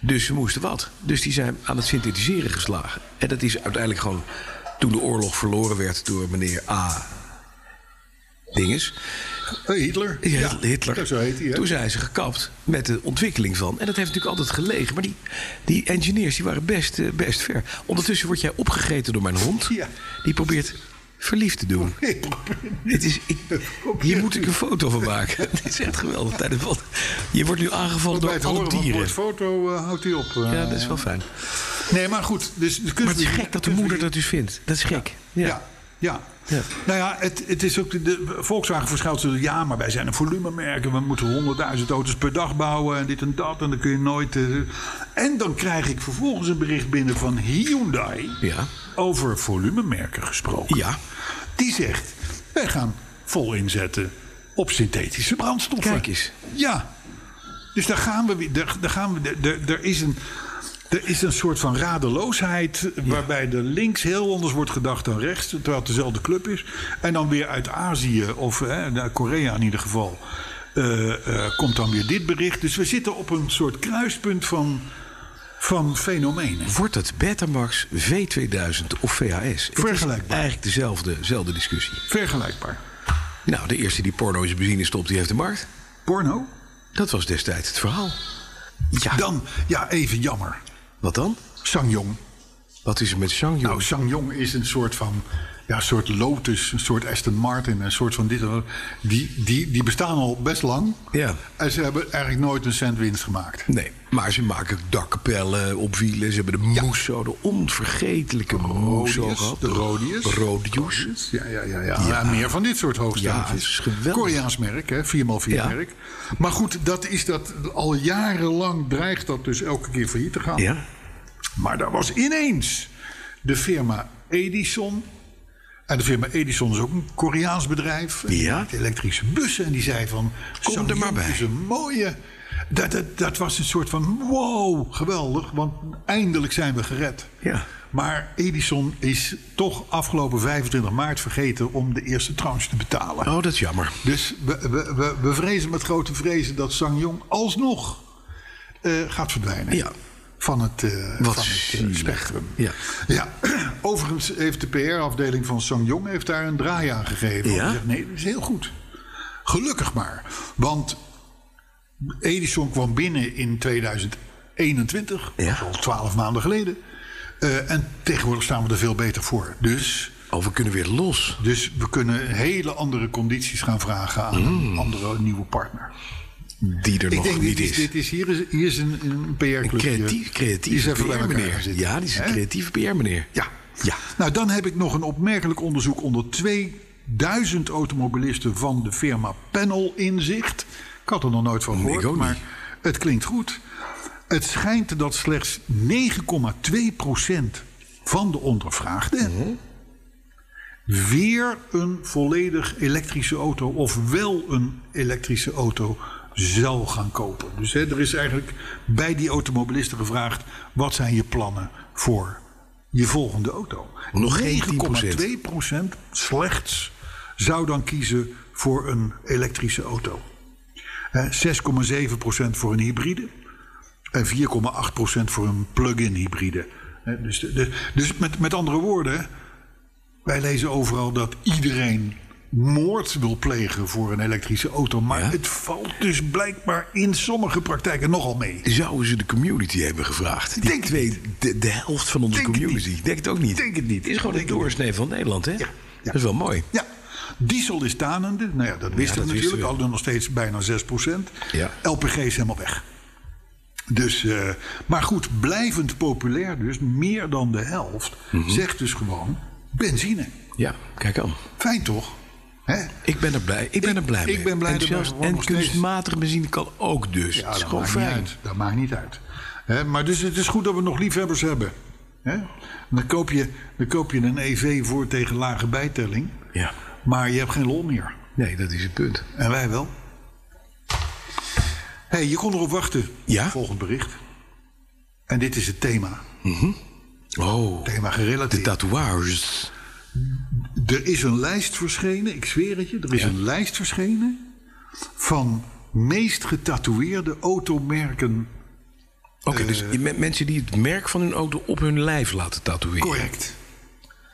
Dus ze moesten wat. Dus die zijn aan het synthetiseren geslagen. En dat is uiteindelijk gewoon toen de oorlog verloren werd door meneer A. Dinges.
Hey, Hitler.
Ja, Eh, Hitler.
Zo heet hij. hè?
Toen zijn ze gekapt met de ontwikkeling van. En dat heeft natuurlijk altijd gelegen. Maar die, die engineers die waren best, eh, best ver. Ondertussen word jij opgegeten door mijn hond.
Ja.
Die probeert verliefd te doen.
Nee, probeer
Het is, ik, hier moet ik een foto van maken. Het is echt geweldig. Tijdens wat- Je wordt nu
Want
aangevallen door
bij het
alle
horen van het
dieren.
woord foto eh, houdt hij op. eh.
Ja, dat is wel fijn.
Nee, maar goed. Dus, de
Maar het is
kunstbenzine-
gek dat de moeder dat dus vindt. Dat is gek. Ja.
Ja. ja.
Ja.
Nou ja, het, het is ook de, de Volkswagen verschuilt ze. Ja, maar wij zijn een volumemerk en we moeten 100.000 auto's per dag bouwen en dit en dat. En dan kun je nooit. eh, en dan krijg ik vervolgens een bericht binnen van Hyundai
Ja.
over volumemerken gesproken.
Ja.
Die zegt: wij gaan vol inzetten op synthetische brandstoffen.
Kijk eens.
Ja. Dus daar gaan we weer. Daar, daar gaan we, daar- daar, daar is een. Er is een soort van radeloosheid waarbij de links heel anders wordt gedacht dan rechts, terwijl het dezelfde club is. En dan weer uit Azië of hè, naar Korea in ieder geval eh, eh, komt dan weer dit bericht. Dus we zitten op een soort kruispunt van, van fenomenen.
Wordt het Betamax, V2000 of VHS? Het is
Vergelijkbaar.
Eigenlijk dezelfde, dezelfde discussie.
Vergelijkbaar.
Nou, de eerste die porno in zijn benzine stopt, die heeft de markt.
Porno?
Dat was destijds het verhaal. Ja.
Dan, ja, even jammer.
Wat dan?
Sangyong.
Wat is er met Shang
Nou, Sang-jong is een soort van. Ja, een soort Lotus, een soort Aston Martin, een soort van dit. en dat. Die, die, die bestaan al best lang.
Ja.
En ze hebben eigenlijk nooit een cent winst gemaakt.
Nee, maar ze maken dakkapellen op wielen. Ze hebben de Musso, de onvergetelijke Musso gehad.
de Rodius.
Rodius.
Ja, ja, ja, ja. ja meer van dit soort hoogstaafjes.
Ja, het is geweldig.
Koreaans merk, hè? 4x4
Ja.
merk. Maar goed, dat is dat. Al jarenlang dreigt dat dus elke keer failliet te gaan.
Ja.
Maar daar was ineens de firma Edison. En de firma Edison is ook een Koreaans bedrijf. En die
Ja.
maakt elektrische bussen. En die zei van,
Kom
zo'n
er maar
jong
bij.
is een mooie... Dat, dat, dat was een soort van wow, geweldig. Want eindelijk zijn we gered.
Ja.
Maar Edison is toch afgelopen 25 maart vergeten om de eerste tranche te betalen.
Oh, dat is jammer.
Dus we, we, we, we vrezen met grote vrezen dat Sang-jong alsnog eh, gaat verdwijnen.
Ja.
Van het, eh,
Wat
van het eh,
zielig.
spectrum.
Ja.
Ja. Overigens heeft de PR-afdeling van Sang-jong heeft daar een draai aan gegeven.
Ja?
Die Zegt, nee, dat is heel goed. Gelukkig maar. Want Edison kwam binnen in 2021.
Ja.
Dat is al twaalf maanden geleden. Eh, en tegenwoordig staan we er veel beter voor. Dus
Oh, we kunnen weer los.
dus we kunnen hele andere condities gaan vragen aan een andere nieuwe partner.
Die er Mm. nog niet
dit is, dit is, hier is, hier is een, een
Een
PR-clubje.
creatief,
Die is
creatieve
even bij elkaar gaan
PR-meneer.
zitten.
Ja, die is een
Hè?
creatieve PR-meneer.
Ja.
Ja.
Nou, dan heb ik nog een opmerkelijk onderzoek onder 2000 automobilisten van de firma Panel Inzicht. Ik had er nog nooit van gehoord,
ik ook
maar
niet.
het klinkt goed. Het schijnt dat slechts 9,2% van de ondervraagden
Oh.
weer een volledig elektrische auto of wel een elektrische auto zou gaan kopen. Dus hè, er is eigenlijk bij die automobilisten gevraagd: wat zijn je plannen voor je volgende auto?
Nog geen
9,2 procent slechts zou dan kiezen voor een elektrische auto. Hè, 6,7 procent voor een hybride en 4,8 procent voor een plug-in hybride. Hè, Dus, de- de- dus met, met andere woorden, wij lezen overal dat iedereen moord wil plegen voor een elektrische auto. Maar
Ja.
het valt dus blijkbaar in sommige praktijken nogal mee.
Zouden ze de community hebben gevraagd? Die
Denk
twee, de, de helft van onze
Denk het
community.
niet.
Denk het ook niet.
Denk het niet.
Het is gewoon
Denk
de
het niet.
doorsnee van Nederland, hè?
ja.
Dat is wel mooi.
Ja. Diesel is tanende. Nou ja, dat wisten
dat
we
wisten
natuurlijk.
we.
Al nog steeds bijna 6
Ja.
LPG is helemaal weg. Dus, eh, maar goed, blijvend populair dus. Meer dan de helft zegt dus gewoon benzine.
Ja, kijk aan.
Fijn toch? Hè?
Ik ben er blij, ik ben er blij mee.
ik ben blij dat we
Enthousiast
gewoon
en
nog steeds-
kunstmatig benzine kan ook dus.
Ja,
het is
dat
gewoon
maakt niet
fijn.
uit. Dat maakt niet uit. Hè, maar dus het is goed dat we nog liefhebbers hebben. Hè? Dan, koop je, dan koop je een EV voor tegen lage bijtelling.
Ja.
Maar je hebt geen lol meer.
Nee, dat is het punt.
En wij wel. Hé, hey, je kon erop wachten.
Ja?
Volgend bericht. En dit is het thema.
Oh,
Thema
de
gerelateerd.
tatoeages.
Er is een lijst verschenen, ik zweer het je. Er is
Ja.
een lijst verschenen van meest getatoeëerde automerken.
Oké,
Eh,
dus je- me- mensen die het merk van hun auto op hun lijf laten tatoeëren.
Correct.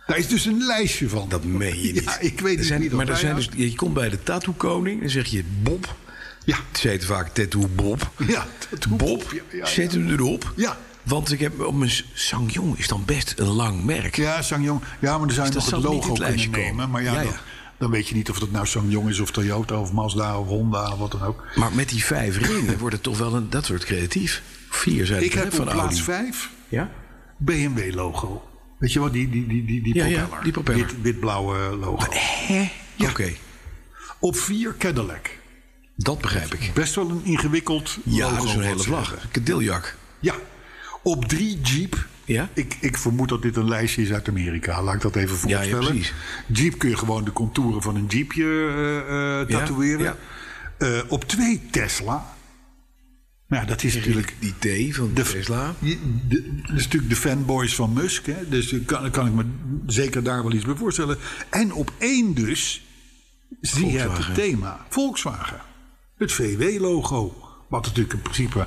Daar is dus een lijstje van.
Dat meen je niet.
Ja, ik weet
Er
niet
zijn,
wie dat
Maar er zijn
bijhoudt.
dus, je komt bij de tattoo koning en zeg je Bob.
Ja.
Ze heet vaak tattoo Bob.
Ja, tattoo Bob.
Bob,
Ja, ja, ja.
zet hem erop.
Ja.
Want ik heb op mijn Sangyong is dan best een lang merk.
Ja, Sangyong. Ja, maar dan zou je nog
Dus dat
het
zal niet in
logo
het lijstje
kunnen nemen.
komen.
Maar ja,
Ja, ja.
Dan, dan weet je niet of dat nou Sangyong is of Toyota of Mazda of Honda of wat dan ook.
Maar met die vijf ringen wordt het toch wel een dat wordt creatief. Vier zijn
Ik
het, hè,
heb
van
op plaats
Audi.
5
Ja?
BMW-logo. Weet je wat, die, die, die, die, die
Ja, ja,
propeller.
die propeller.
Wit- Wit-blauwe logo.
Oké,
Op 4 Cadillac.
dat begrijp ik.
Best wel een ingewikkeld
Ja,
logo.
dat is een
wat
hele
ze
vlag.
hebben.
Kadiljak.
Ja. Op 3 Jeep.
Ja?
Ik, ik vermoed dat dit een lijstje is uit Amerika. Laat ik dat even
ja,
voorstellen.
precies.
Jeep kun je gewoon de contouren van een jeepje eh, eh,
Ja,
tatoeëren.
ja.
Eh, op twee Tesla. Nou, dat is natuurlijk...
Die T van
De,
Tesla.
je- de- dat is natuurlijk de fanboys van Musk. Hè? Dus ik kan, kan ik me zeker daar wel iets bij voorstellen. En op één dus zie je het
Volkswagen.
thema. Volkswagen. Het VW-logo. Wat natuurlijk in principe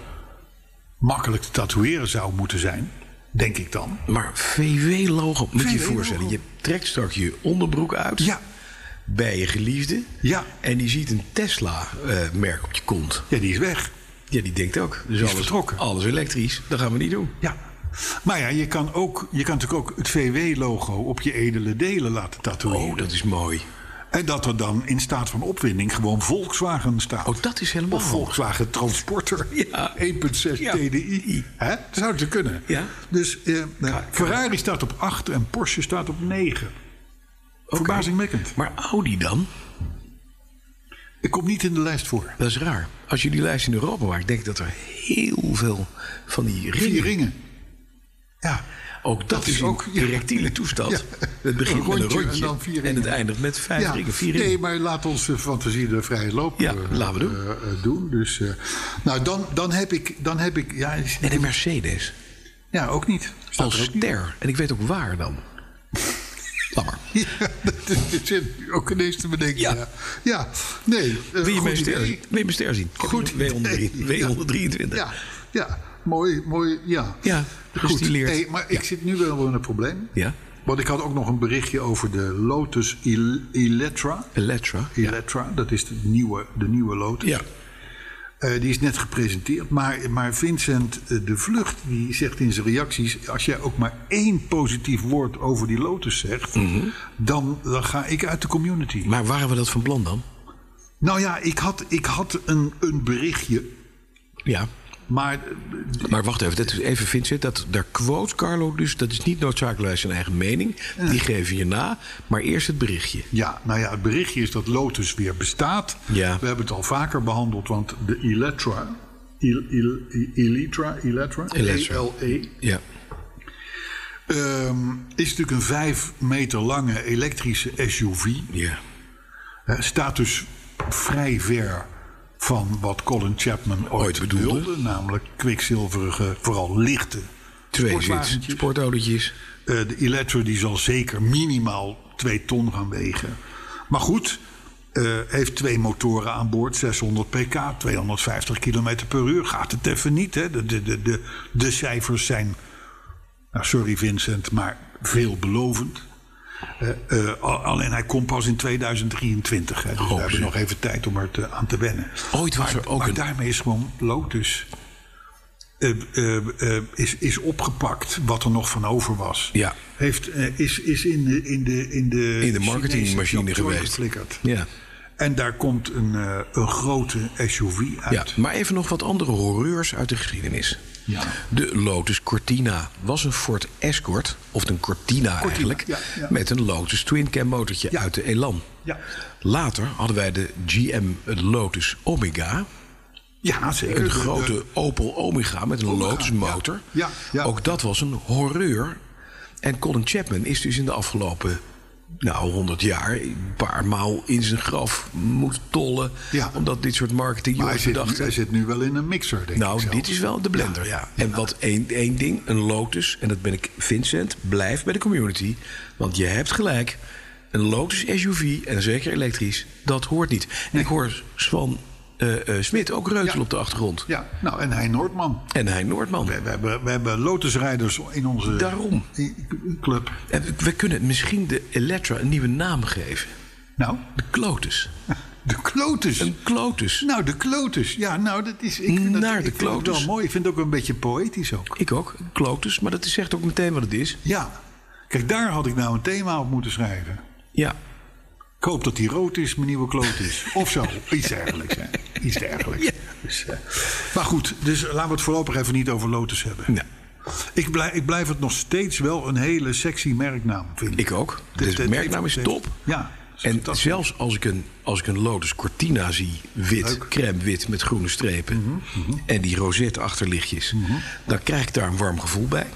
makkelijk te tatoeëren zou moeten zijn. Denk ik dan.
Maar VW-logo, moet je je
VW-logo.
voorstellen. Je trekt straks je onderbroek uit.
Ja.
Bij je geliefde.
Ja.
En die ziet een Tesla-merk op je kont.
Ja, die is weg.
Ja, die denkt ook. Dus alles,
vertrokken.
alles elektrisch, dat gaan we niet doen.
Ja. Maar ja, je kan, ook, je kan natuurlijk ook het VW-logo op je edele delen laten tatoeëren.
Oh, dat is mooi.
En dat er dan in staat van opwinding gewoon Volkswagen staat.
Oh, dat is helemaal
Of Volkswagen Transporter. E
Ja.
1.6
Ja.
TDI. Hè? Dat zou te kunnen.
Ja.
Dus eh, nou, Ferrari staat op 8 en Porsche staat op 9. Verbazingwekkend.
Maar Audi dan?
Ik kom niet in de lijst voor.
Dat is raar. Als je die lijst in Europa maakt, denk ik dat er heel veel van die ringen...
Vier ringen. Ja.
Ook dat,
Dat
is
is
een
ook- ja.
erectiele toestand.
Ja.
Het begint
Een
met
rondje
een
en
rondje en,
dan vier ringen.
het eindigt met vijf
Ja,
ringen, vier ringen.
nee, maar laat onze fantasie de vrije loop
Ja,
eh,
laten we doen.
eh, eh, doen. Dus, eh, nou, dan, dan heb ik... Dan heb ik ja, is-
En een Mercedes
ja, ook niet. Staat er
als
ook niet.
ster. En ik weet ook waar dan. Laat maar.
Ja, dat zit ook ineens te bedenken.
Ja.
Ja, ja. nee. eh,
Wil je
goed
mijn ster,
idee.
zien? wil je mijn ster zien? Ik heb
Goed
hier een W103
idee. Ja.
W123.
Ja, ja. Mooi, mooi, ja.
Ja, dus
goed.
die leert.
Hey, maar ik zit nu wel in een probleem.
Ja.
Want ik had ook nog een berichtje over de Lotus Il- Electra.
Electra.
Electra, dat is de nieuwe, de nieuwe Lotus.
Ja.
Eh, die is net gepresenteerd. Maar, maar Vincent eh, de Vlucht die zegt in zijn reacties... als jij ook maar één positief woord over die Lotus zegt...
Mhm.
dan, dan ga ik uit de community.
Maar waren we dat van plan dan?
Nou ja, ik had, ik had een, een berichtje...
Ja.
maar
Maar wacht even, dat is even Vincent, dat, daar quote Carlo dus... dat is niet noodzakelijk zijn eigen mening. Die geven je na, maar eerst het berichtje.
Ja, nou ja, het berichtje is dat Lotus weer bestaat.
Ja.
We hebben het al vaker behandeld, want de Electra... Il, Il, Electra, Electra,
Electra.
E-L-E,
Ja.
E, ehm, is natuurlijk een vijf meter lange elektrische SUV.
Ja.
Eh, staat dus vrij ver van wat Colin Chapman ooit,
Ooit bedoelde.
bedoelde. Namelijk kwikzilverige, vooral lichte
Twee zit,
sportwagentjes.
sportautootjes.
Eh, de Electro die zal zeker minimaal 2 ton gaan wegen. Maar goed, eh, heeft twee motoren aan boord, 600 pk, 250 km per uur. Gaat het even niet, hè? De, de, de, de, de cijfers zijn, nou, sorry Vincent, maar veelbelovend. Eh, eh, al- alleen hij komt pas in 2023. Hè, dus we hebben nog even tijd om er te- aan te wennen.
Ooit was er ook
maar
een-
daarmee is gewoon Lotus eh, eh, eh, is, is opgepakt wat er nog van over was.
Ja.
Heeft, eh, is is in, de, in, de, in, de
In de marketingmachine
Chinese champion
geweest.
geflikkerd.
Ja.
En daar komt een, eh, een grote SUV
Ja,
uit.
maar even nog wat andere horreurs uit de geschiedenis. De Lotus Cortina was een Ford Escort, of een Cortina, eigenlijk,
ja, ja.
met een Lotus Twin Cam motortje
Ja.
uit de Elan.
Ja.
Later hadden wij de GM Lotus Omega,
Ja, zeker. Eh,
een
De- de-
grote Opel Omega met een Lotus motor.
ja, ja.
Ook dat was een horreur. En Colin Chapman is dus in de afgelopen nou, 100 jaar een paar maal in zijn graf moeten tollen.
Ja.
Omdat dit soort
maar hij
marketingjongens
zit, nu,
bedachten.
hij zit nu wel in een mixer, denk ik
Nou,
zelf.
dit is wel de blender, ja. En
eh,
wat één, één ding, een lotus, en dat ben ik Vincent, blijf bij de community. Want je hebt gelijk, een lotus SUV, en zeker elektrisch, dat hoort niet. En ik hoor Swan eh, eh, Smit ook reutelen
Ja.
op de achtergrond.
Ja, nou, en hij Noordman.
En hij Noordman.
We, we hebben, we hebben Lotusrijders in onze
Daarom.
i- i- club.
En we- we kunnen misschien de Electra een nieuwe naam geven.
Nou,
De Klotus.
de klotus.
Een Klotus.
Nou, de klotus. Ja, nou, dat is. Ik vind dat,
Naar
ik
de
vind het
klotus.
wel mooi. Ik vind het ook een beetje poëtisch ook.
Ik ook, een Klotus. Maar dat zegt ook meteen wat het is.
Ja. Kijk, daar had ik nou een thema op moeten schrijven.
Ja,
Ik hoop dat die rood is, mijn nieuwe kloot is. Of zo. Iets dergelijks. Hè. Iets dergelijks. Dus, eh, maar goed, dus laten we het voorlopig even niet over Lotus hebben.
Nee.
Ik, blijf, ik blijf het nog steeds wel een hele sexy merknaam vinden.
ik ook.
Het-
Dus de
het-
merknaam is
het-
top.
Ja. dat is
En
fantastisch.
zelfs als ik, een, als ik een Lotus Cortina zie, wit, crème wit met groene strepen...
Mhm,
en die rosette achterlichtjes, dan krijg ik daar een warm gevoel bij.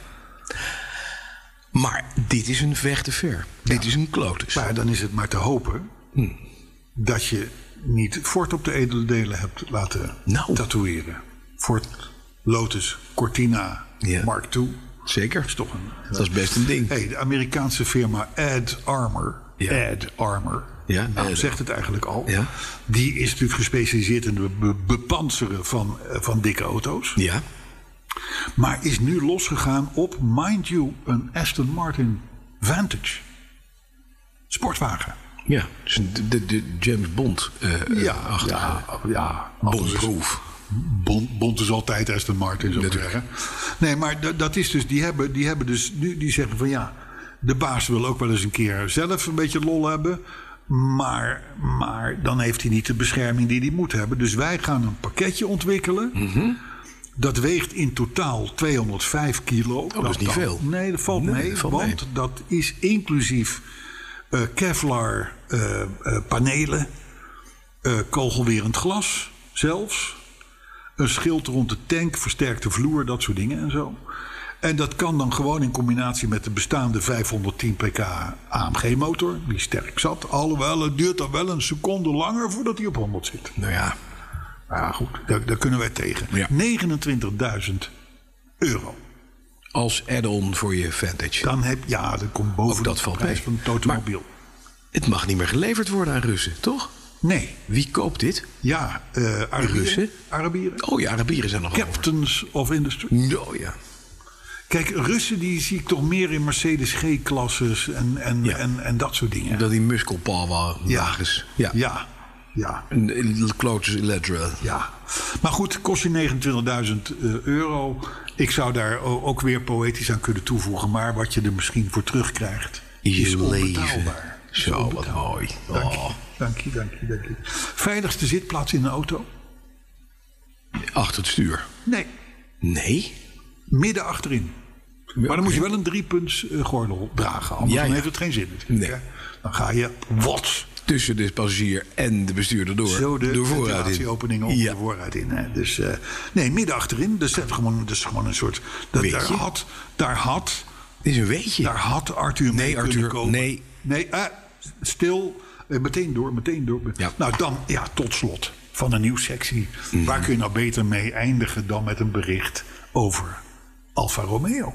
Maar dit is een vechte ver. Dit is een Klotus.
Maar dan is het maar te hopen
Hmm.
dat je niet Ford op de edele delen hebt laten
Nou.
tatoeëren. Ford, Lotus, Cortina,
Ja.
Mark II.
Zeker.
Dat is toch een...
Dat is best een ding.
Hey, de Amerikaanse firma Ad Armor.
Ja.
Ad Armor.
Ja,
nou,
Ad-
zegt het eigenlijk al.
Ja.
Die is natuurlijk gespecialiseerd in het be- bepanseren van, eh, van dikke auto's.
Ja.
Maar is nu losgegaan op, mind you, een Aston Martin Vantage. Sportwagen.
Ja, dus de, de, de James Bond eh ja, achtige
ja, ja.
Bondproof.
Bond, Bond is altijd Aston Martin, zou ik zeggen. Nee, maar da- dat is dus, die hebben, die hebben dus nu, die zeggen van ja, de baas wil ook wel eens een keer zelf een beetje lol hebben. Maar, maar dan heeft hij niet de bescherming die hij moet hebben. Dus wij gaan een pakketje ontwikkelen.
Mhm.
Dat weegt in totaal 205 kilo. Oh,
dat is niet veel.
Nee, dat valt
Nee,
mee.
dat valt
want
mee.
dat is inclusief eh, Kevlar eh, eh, panelen, eh, kogelwerend glas zelfs, een schild rond de tank, versterkte vloer, dat soort dingen en zo. En dat kan dan gewoon in combinatie met de bestaande 510 pk AMG-motor, die sterk zat. Alhoewel, het duurt dan wel een seconde langer voordat hij op 100 zit.
Nou ja,
Maar goed, daar, daar kunnen wij tegen.
Ja.
29.000 euro.
als add-on voor je Vantage.
Dan heb ja, dat komt boven
Ook dat
de
valt
prijs
mee.
van het automobiel.
Het mag niet meer geleverd worden aan Russen, toch?
nee,
Wie koopt dit?
ja, eh Arabieren.
Russen?
Arabieren.
Oh ja, Arabieren zijn nog
Captains of Industry.
over. Oh ja.
Kijk, Russen die zie ik toch meer in Mercedes G-klasses en, en,
Ja.
en, en dat soort dingen.
Dat die muskelpalwagens.
ja, ja, ja.
Een Klootse ledra.
Ja, maar goed, kost je 29.000 eh, euro. Ik zou daar o- ook weer poëtisch aan kunnen toevoegen. Maar wat je er misschien voor terugkrijgt,
Je
is
leven.
onbetaalbaar. Is
Zo, Oh, wat
onbetaalbaar.
mooi.
Dank
Oh.
je, dank je, dank je, dank je. Veiligste zitplaats in de auto?
Achter het stuur.
Nee,
Nee.
midden achterin. Maar dan moet je wel een driepunts eh, gordel dragen. Anders
Ja,
dan
ja.
heeft het geen zin.
Nee.
Ja, Dan ga je wat
Tussen de passagier en de bestuurder door.
zo de
door vooruit in.
ventilatieopening op
Ja.
de vooruit in. Hè. Dus, eh, nee, midden achterin. Dus dat is gewoon, dat is gewoon een soort... Dat, daar
Beetje.
had... Daar had
Dit is een weetje.
Daar had Arthur mee
Nee,
kunnen
Arthur,
komen.
nee.
Nee, eh, stil. Eh, meteen door, meteen door.
Ja. Mhm.
Nou, dan, ja, tot slot van een nieuwssectie. Waar kun je nou beter mee eindigen dan met een bericht over Alfa Romeo?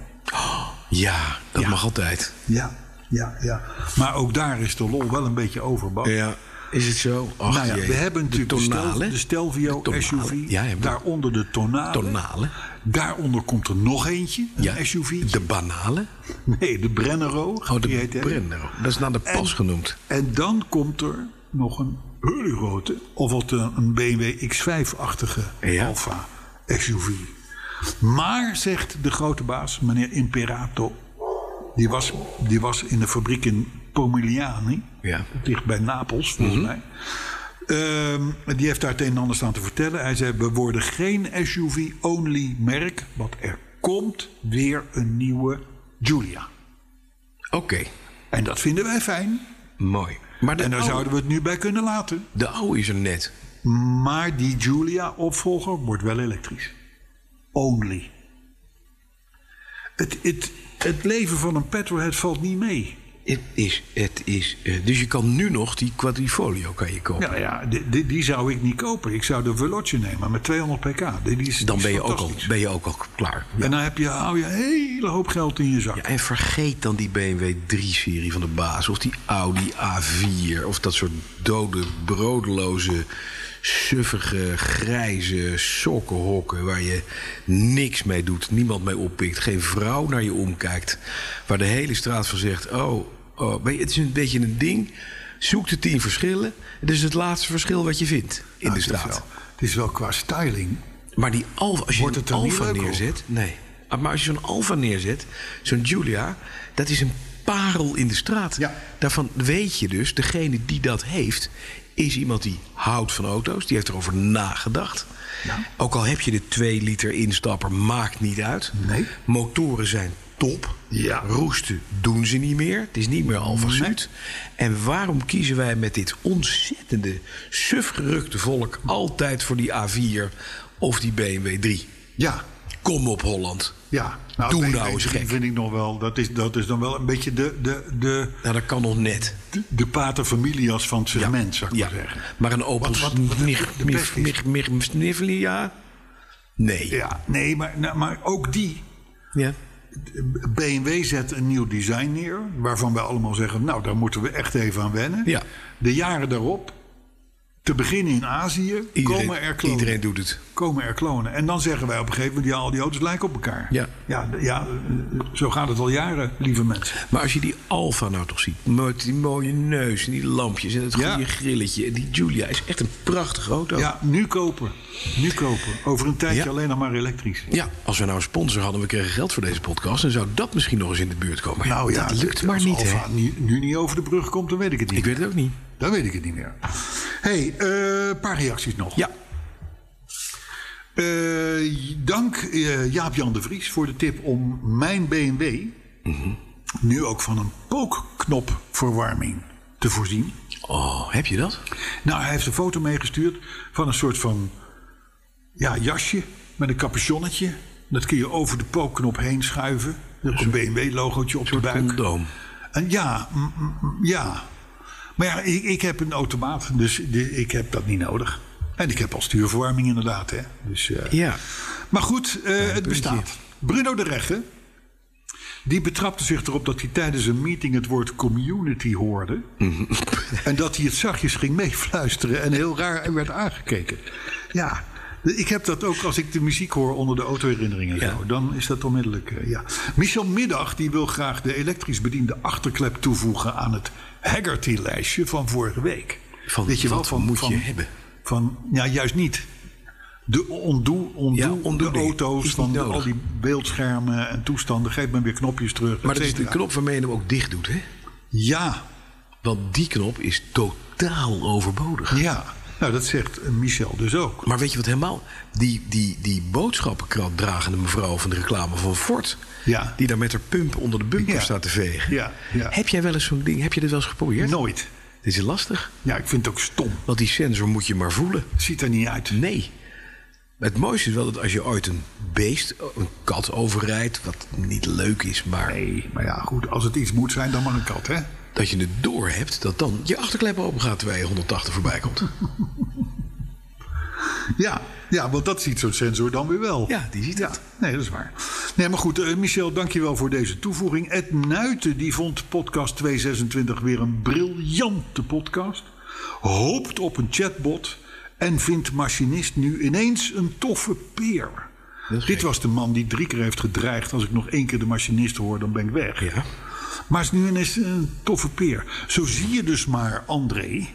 Ja, dat mag altijd.
Ja, ja, ja. Maar ook daar is de lol wel een beetje overbouwd.
Ja. Is het zo? Ach,
nou ja,
jee.
we hebben natuurlijk de, Stel-
tonale.
de Stelvio
De tonale.
SUV.
Ja, hebben we.
daaronder de tonale.
Tonale.
Daaronder komt er nog eentje, een
Ja,
SUV.
De banale.
nee, de Brennero.
Oh,
Die
de
heet hij.
Brennero. Dat is naar de pas genoemd.
En dan komt er nog een hele grote, of wat een een BMW X5-achtige
Ja.
Alfa SUV. Maar, zegt de grote baas, meneer Imperato, die was, die was in de fabriek in Pomigliani,
Ja. Mhm.
dat ligt bij Napels volgens mij. Ehm, die heeft daar het een en ander staan te vertellen. Hij zei: We worden geen SUV-only merk, want er komt weer een nieuwe Giulia.
Oké,
En dat vinden wij fijn.
mooi. Maar de,
En daar
oude,
zouden we het nu bij kunnen laten.
de oude is er net.
Maar die Julia-opvolger wordt wel elektrisch. Only. Het, het, het leven van een petrolhead valt niet mee.
Het is, het is, eh, dus je kan nu nog die quadrifolio kan je kopen.
Ja, ja die, die- die zou ik niet kopen. Ik zou de Veloce nemen met 200 pk. Die, die is,
Dan
die
ben
is
je, ook al,
fantastisch.
ben je ook al klaar.
En dan heb je, hou je een hele hoop geld in je zak.
Ja, en vergeet dan die BMW 3-serie van de baas. Of die Audi A4. Of dat soort dode, broodloze, suffige, grijze sokkenhokken... waar je niks mee doet, niemand mee oppikt... geen vrouw naar je omkijkt. Waar de hele straat van zegt... oh, oh weet je, het is een beetje een ding... Zoek de tien verschillen. Het is het laatste verschil wat je vindt in
Nou,
de
het is
straat.
wel- Het is wel qua styling.
Maar die Alfa, als je
Wordt
een
het er niet
Alfa
leuk op?
neerzet... Nee. Maar als je zo'n Alfa neerzet, zo'n Giulia... dat is een parel in de straat.
Ja.
Daarvan weet je dus, degene die dat heeft... is iemand die houdt van auto's. Die heeft erover nagedacht. Ook al heb je de 2 liter instapper, maakt niet uit.
Nee.
Motoren zijn top.
Ja.
Roesten doen ze niet meer. Het is niet meer Alfa Zuid. En waarom kiezen wij met dit ontzettende, sufgerukte volk... altijd voor die A4 of die BMW 3?
Ja,
Kom op, Holland.
ja.
Doe
het
nou eens
BMW
gek.
Vind ik nog wel, dat is, dat is dan wel een beetje de, de, de,
Nou, dat kan nog net.
de, de paterfamilias van het segment, zou ik maar zeggen.
Maar een Opel
Wat- wat- wat-
Snig-
de
Mich-
beste is.
Mich- Mich- Snivlia? Nee.
Ja, nee, maar, nou, maar ook die.
Ja.
BMW zet een nieuw design neer. Waarvan wij allemaal zeggen: Nou, daar moeten we echt even aan wennen.
Ja.
De jaren daarop, te beginnen in Azië,
Iedereen-
komen er klonen.
iedereen doet het.
Komen er klonen. En dan zeggen wij op een gegeven moment: Ja, al die auto's lijken op elkaar.
Ja.
Ja, d- ja eh, zo gaat het al jaren, lieve mensen.
Maar als je die Alfa nou toch ziet, met die mooie neus en die lampjes en het
Ja.
goede grilletje. En die Giulia is echt een prachtige auto.
Ja, nu kopen. Nu kopen. Over een tijdje
Ja.
alleen nog maar elektrisch.
Ja, als we nou een sponsor hadden, we kregen geld voor deze podcast... dan zou dat misschien nog eens in de buurt komen. Maar
Nou ja,
dat lukt
d-
maar
als
niet, hè?
Alfa nu, nu niet over de brug komt, dan weet ik het niet.
Ik weet het ook niet.
Dan weet ik het niet meer. hey, eh, een paar reacties nog.
Ja,
Eh, dank eh, Jaap-Jan de Vries voor de tip om mijn BMW nu ook van een pookknopverwarming te voorzien.
oh, heb je dat?
Nou, hij heeft een foto meegestuurd van een soort van ja, jasje met een capuchonnetje. Dat kun je over de pookknop heen schuiven. Er komt een BMW-logootje op de buik.
Condoom.
En ja, mm, mm, ja. Maar ja, ik, ik heb een automaat, dus de- ik heb dat niet nodig. En ik heb al stuurverwarming inderdaad. Hè. Dus, eh,
Ja.
Maar goed, eh, het bestaat. Bruno de Regge, die betrapte zich erop dat hij tijdens een meeting het woord community hoorde.
Mhm.
En dat hij het zachtjes ging meefluisteren en heel raar werd aangekeken. Ja, ik heb dat ook als ik de muziek hoor onder de autoherinneringen. en Zo, dan is dat onmiddellijk. eh, ja. Michel Middag die wil graag de elektrisch bediende achterklep toevoegen aan het Haggerty-lijstje van vorige week.
Van wat moet je hebben?
Van, ja, juist niet. De ontdoe, ontdoe,
Ja, ontdoe
de
dingen.
auto's
Is
van
niet
de-
nodig.
al die beeldschermen en toestanden. Geef me weer knopjes terug.
Maar
et
dat is de
cetera.
knop waarmee je hem ook dicht doet, hè?
Ja,
Want die knop is totaal overbodig.
ja. Nou, dat zegt eh, Michel dus ook.
Maar weet je wat helemaal? Die, die, die boodschappenkrat dragende mevrouw van de reclame van Ford.
Ja.
Die daar met haar pump onder de bumper
Ja.
staat te vegen.
Ja, ja.
Heb jij wel eens zo'n ding? Heb je dit wel eens geprobeerd?
Nooit.
Dit is lastig.
Ja, ik vind het ook stom.
Want die sensor moet je maar voelen.
Ziet er niet uit.
Nee. Het mooiste is wel dat als je ooit een beest, een kat overrijdt, wat niet leuk is, maar
Nee, maar ja, goed. Als het iets moet zijn, dan maar een kat, hè?
dat je het door hebt, dat dan je achterklep open gaat terwijl je 180 voorbij komt.
Ja, ja want dat ziet zo'n sensor dan weer wel.
Ja, die ziet dat.
Nee, dat is waar. Nee, maar goed, eh, Michel, dankjewel voor deze toevoeging. Ed Nuiten, die vond podcast 226 weer een briljante podcast. Hoopt op een chatbot en vindt machinist nu ineens een toffe peer. Dit was de man die drie keer heeft gedreigd... als ik nog één keer de machinist hoor, dan ben ik weg.
Ja.
Maar is nu ineens een toffe peer. Zo zie je dus maar, André...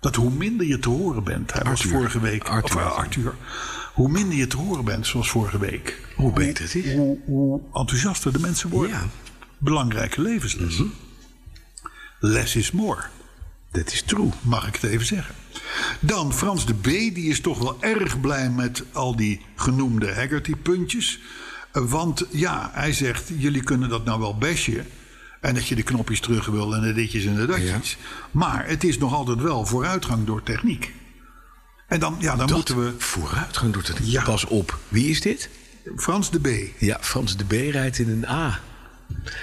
dat hoe minder je te horen bent... Hij
Arthur.
was vorige week...
Arthur.
Of, eh, Arthur. Hoe minder je te horen bent, zoals vorige week...
Hoe beter het is.
hoe, hoe enthousiaster de mensen worden.
Ja.
Belangrijke levensles. Less is more
Dat is true.
mag ik het even zeggen. Dan Frans de B, die is toch wel erg blij met al die genoemde Haggerty-puntjes. Eh, Want ja, hij zegt, jullie kunnen dat nou wel bestje. En dat je de knopjes terug wil en de ditjes en de datjes. Maar het is nog altijd wel vooruitgang door techniek. En dan, ja, dan moeten we...
Vooruitgang doet het niet.
Ja.
Pas op. Wie is dit?
Frans de B.
Ja, Frans de B rijdt in een A.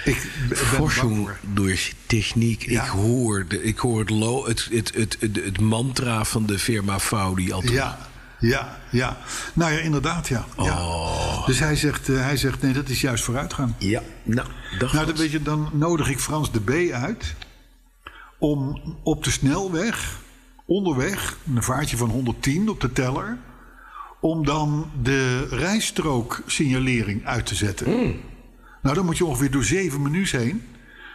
Ik ben er bang
Forschung
voor.
door techniek.
Ja.
Ik, hoor de, ik hoor het, lo, het, het, het, het, het mantra van de firma Faudi altijd.
Ja, ja, ja. Nou ja, inderdaad, ja. ja. Dus hij zegt, eh, hij zegt, nee, dat is juist vooruitgang.
Ja, nou, dag
Nou,
Frans.
dan, weet je, dan nodig ik Frans de B uit om op de snelweg, onderweg, een vaartje van 110 op de teller, om dan de rijstrooksignalering uit te zetten. Nou, dan moet je ongeveer door zeven menus heen.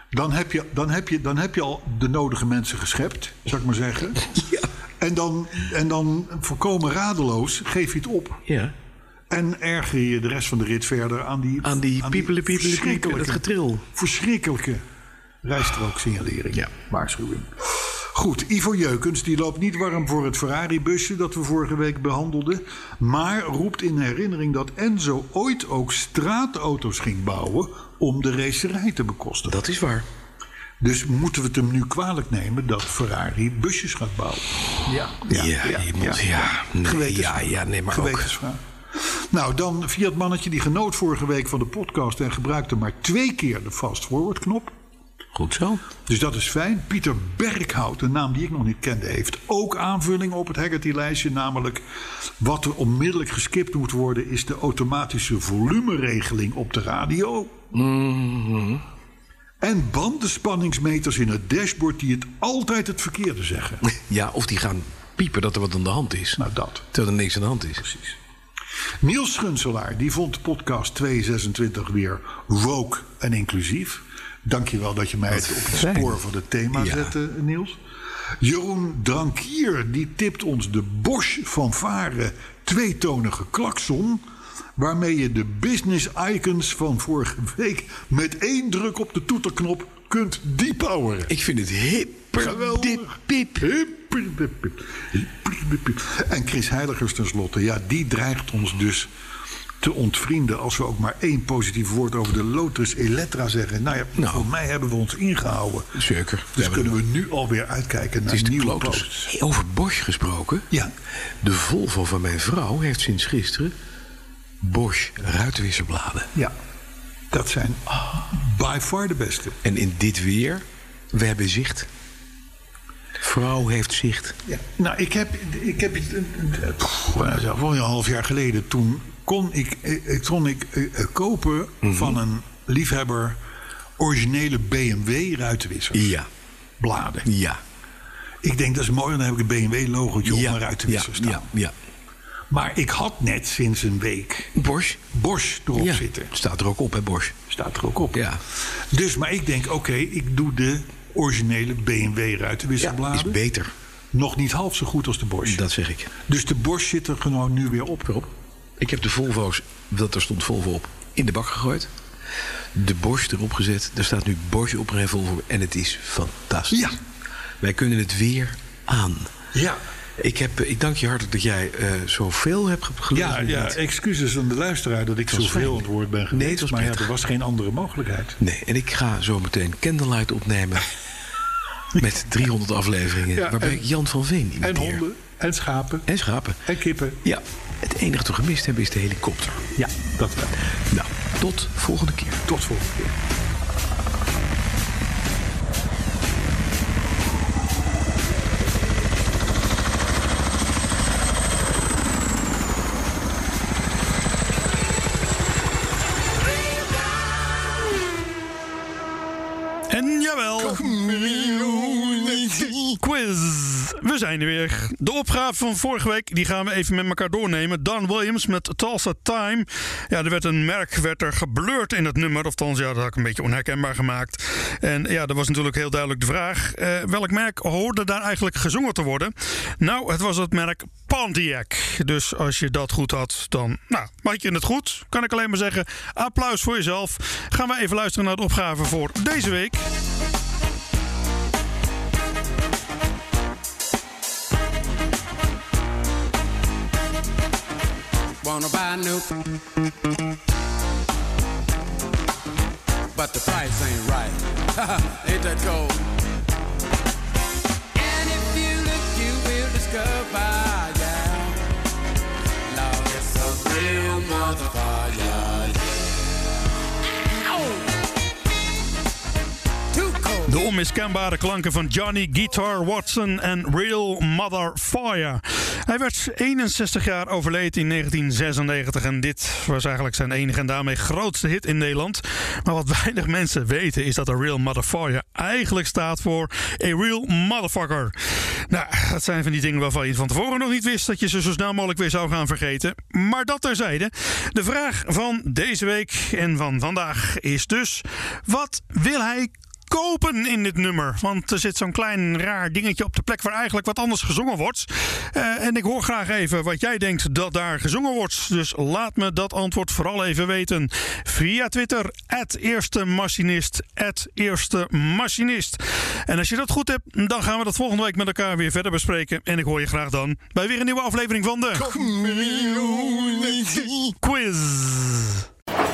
Dan heb je, dan heb je, dan heb je al de nodige mensen geschept, zou ik maar zeggen. En, dan, en dan voorkomen radeloos geef je het op.
Ja.
En erger je de rest van de rit verder aan die...
Aan die piepelen, piepelen, piepelen,
verschrikkelijke-
dat getril.
Verschrikkelijke rijstrooksignalering.
Ja.
Waarschuwing. Goed, Ivo Jeukens die loopt niet warm voor het Ferrari-busje dat we vorige week behandelden. Maar roept in herinnering dat Enzo ooit ook straatauto's ging bouwen om de racerij te bekosten.
Dat is waar.
Dus moeten we het hem nu kwalijk nemen dat Ferrari busjes gaat bouwen? Ja,
Ja, je moet- ja. Nee,
Gewetensvraag.
ja, ja, nee, maar ook-
Gewetensvraag. Nou, dan Fiat Mannetje, die genoot vorige week van de podcast en gebruikte maar twee keer de fast forward knop.
Goed zo.
Dus dat is fijn. Pieter Berghout, een naam die ik nog niet kende, heeft ook aanvulling op het Haggerty-lijstje. Namelijk, wat er onmiddellijk geskipt moet worden, is de automatische volumeregeling op de radio.
Mhm.
En bandenspanningsmeters in het dashboard die het altijd het verkeerde zeggen.
Ja, of die gaan piepen dat er wat aan de hand is.
nou, dat.
Terwijl er niks aan de hand is. Precies.
Niels Schunselaar, die vond podcast 226 weer woke en inclusief. Dankjewel dat je mij het op het
fijn.
spoor van het thema
Ja.
zette, Niels. Jeroen Drankier, die tipt ons de Bosch van Varen tweetonige klakson... waarmee je de business icons van vorige week... met één druk op de toeterknop kunt depoweren.
Ik vind het hipper. Dip, pip.
En Chris Heiligers tenslotte, ja, die dreigt ons dus te ontvrienden als we ook maar één positief woord over de Lotus Elettra zeggen. Nou ja, voor mij hebben we ons ingehouden.
Zeker. We
Dus
hebben-
kunnen we nu alweer uitkijken naar
Het is de
nieuwe
kloters.
posts.
Hey, over Bosch gesproken.
Ja.
De Volvo van mijn vrouw heeft sinds gisteren Bosch ruitwisserbladen.
Ja, dat zijn by far de beste.
En in dit weer, we hebben zicht. Vrouw heeft zicht.
Ja. Nou, ik heb, ik heb het, eh, eh, pff, nou, dat is al een half jaar geleden, toen kon ik, eh, eh, kon ik eh, eh, kopen
Mhm.
van een liefhebber originele BMW ruitenwissers.
Ja.
Bladen.
Ja.
Ik denk dat is mooi, dan heb ik het BMW logo op
ja.
mijn ruitenwisser
ja.
staan.
Ja.
Maar ik had net sinds een week
ja. Bosch.
Bosch erop
ja.
zitten.
Staat er ook op, hè, Bosch?
Staat er ook op.
Ja.
Dus, maar ik denk, oké, ik doe de originele BMW ruitenwisselbladen.
Is beter.
Nog niet half zo goed als de Bosch.
Dat zeg ik.
Dus de Bosch zit er gewoon nu weer op.
Rob, ik heb de Volvo's, dat er stond Volvo op, in de bak gegooid. De Bosch erop gezet. Daar staat nu Bosch op en Volvo. En het is fantastisch.
Ja.
Wij kunnen het weer aan.
Ja.
Ik, heb, ik dank je hartelijk dat jij eh, zoveel hebt ge- gelezen.
Ja, ja, excuses aan de luisteraar dat ik
was
zoveel
fijn.
aan het woord ben
Nee,
geweest.
het was
maar ja, er
prettig.
was geen andere mogelijkheid.
Nee, en ik ga zo meteen Candlelight opnemen. met 300 afleveringen.
Ja,
waarbij
en-
ik Jan van Veen niet
En honden, en schapen,
En schapen.
en kippen.
Ja, het enige dat we gemist hebben is de helikopter.
Ja, dat wel.
Nou, tot volgende keer.
Tot volgende keer.
En jawel. Quiz. We zijn er weer. De opgave van vorige week die gaan we even met elkaar doornemen. Dan Williams met Tulsa Time. Ja, er werd een merk werd er geblurred in het nummer. Ofthans, ja, dat had ik een beetje onherkenbaar gemaakt. En ja, dat was natuurlijk heel duidelijk de vraag. eh, welk merk hoorde daar eigenlijk gezongen te worden? Nou, het was het merk Pontiac. Dus als je dat goed had, dan nou, maak je het goed. Kan ik alleen maar zeggen, applaus voor jezelf. Gaan we even luisteren naar de opgave voor deze week.
Wanna buy new, but the price ain't right. ain't that cold? And if you look, you will discover, yeah. Love is a real motherfucker, yeah. Oh. Too cold.
De onmiskenbare klanken van Johnny Guitar Watson en Real Mother Fire. Hij werd 61 jaar overleden in 1996 en dit was eigenlijk zijn enige en daarmee grootste hit in Nederland. Maar wat weinig mensen weten is dat de Real Mother Fire eigenlijk staat voor A Real Motherfucker. Nou, dat zijn van die dingen waarvan je van tevoren nog niet wist dat je ze zo snel mogelijk weer zou gaan vergeten. Maar dat terzijde. De vraag van deze week en van vandaag is dus: wat wil hij kopen in dit nummer. Want er zit zo'n klein raar dingetje op de plek waar eigenlijk wat anders gezongen wordt. Eh, en ik hoor graag even wat jij denkt dat daar gezongen wordt. Dus laat me dat antwoord vooral even weten. Via Twitter, @eerstemachinist eerste machinist, eerste machinist. En als je dat goed hebt, dan gaan we dat volgende week met elkaar weer verder bespreken. En ik hoor je graag dan bij weer een nieuwe aflevering van de Quiz.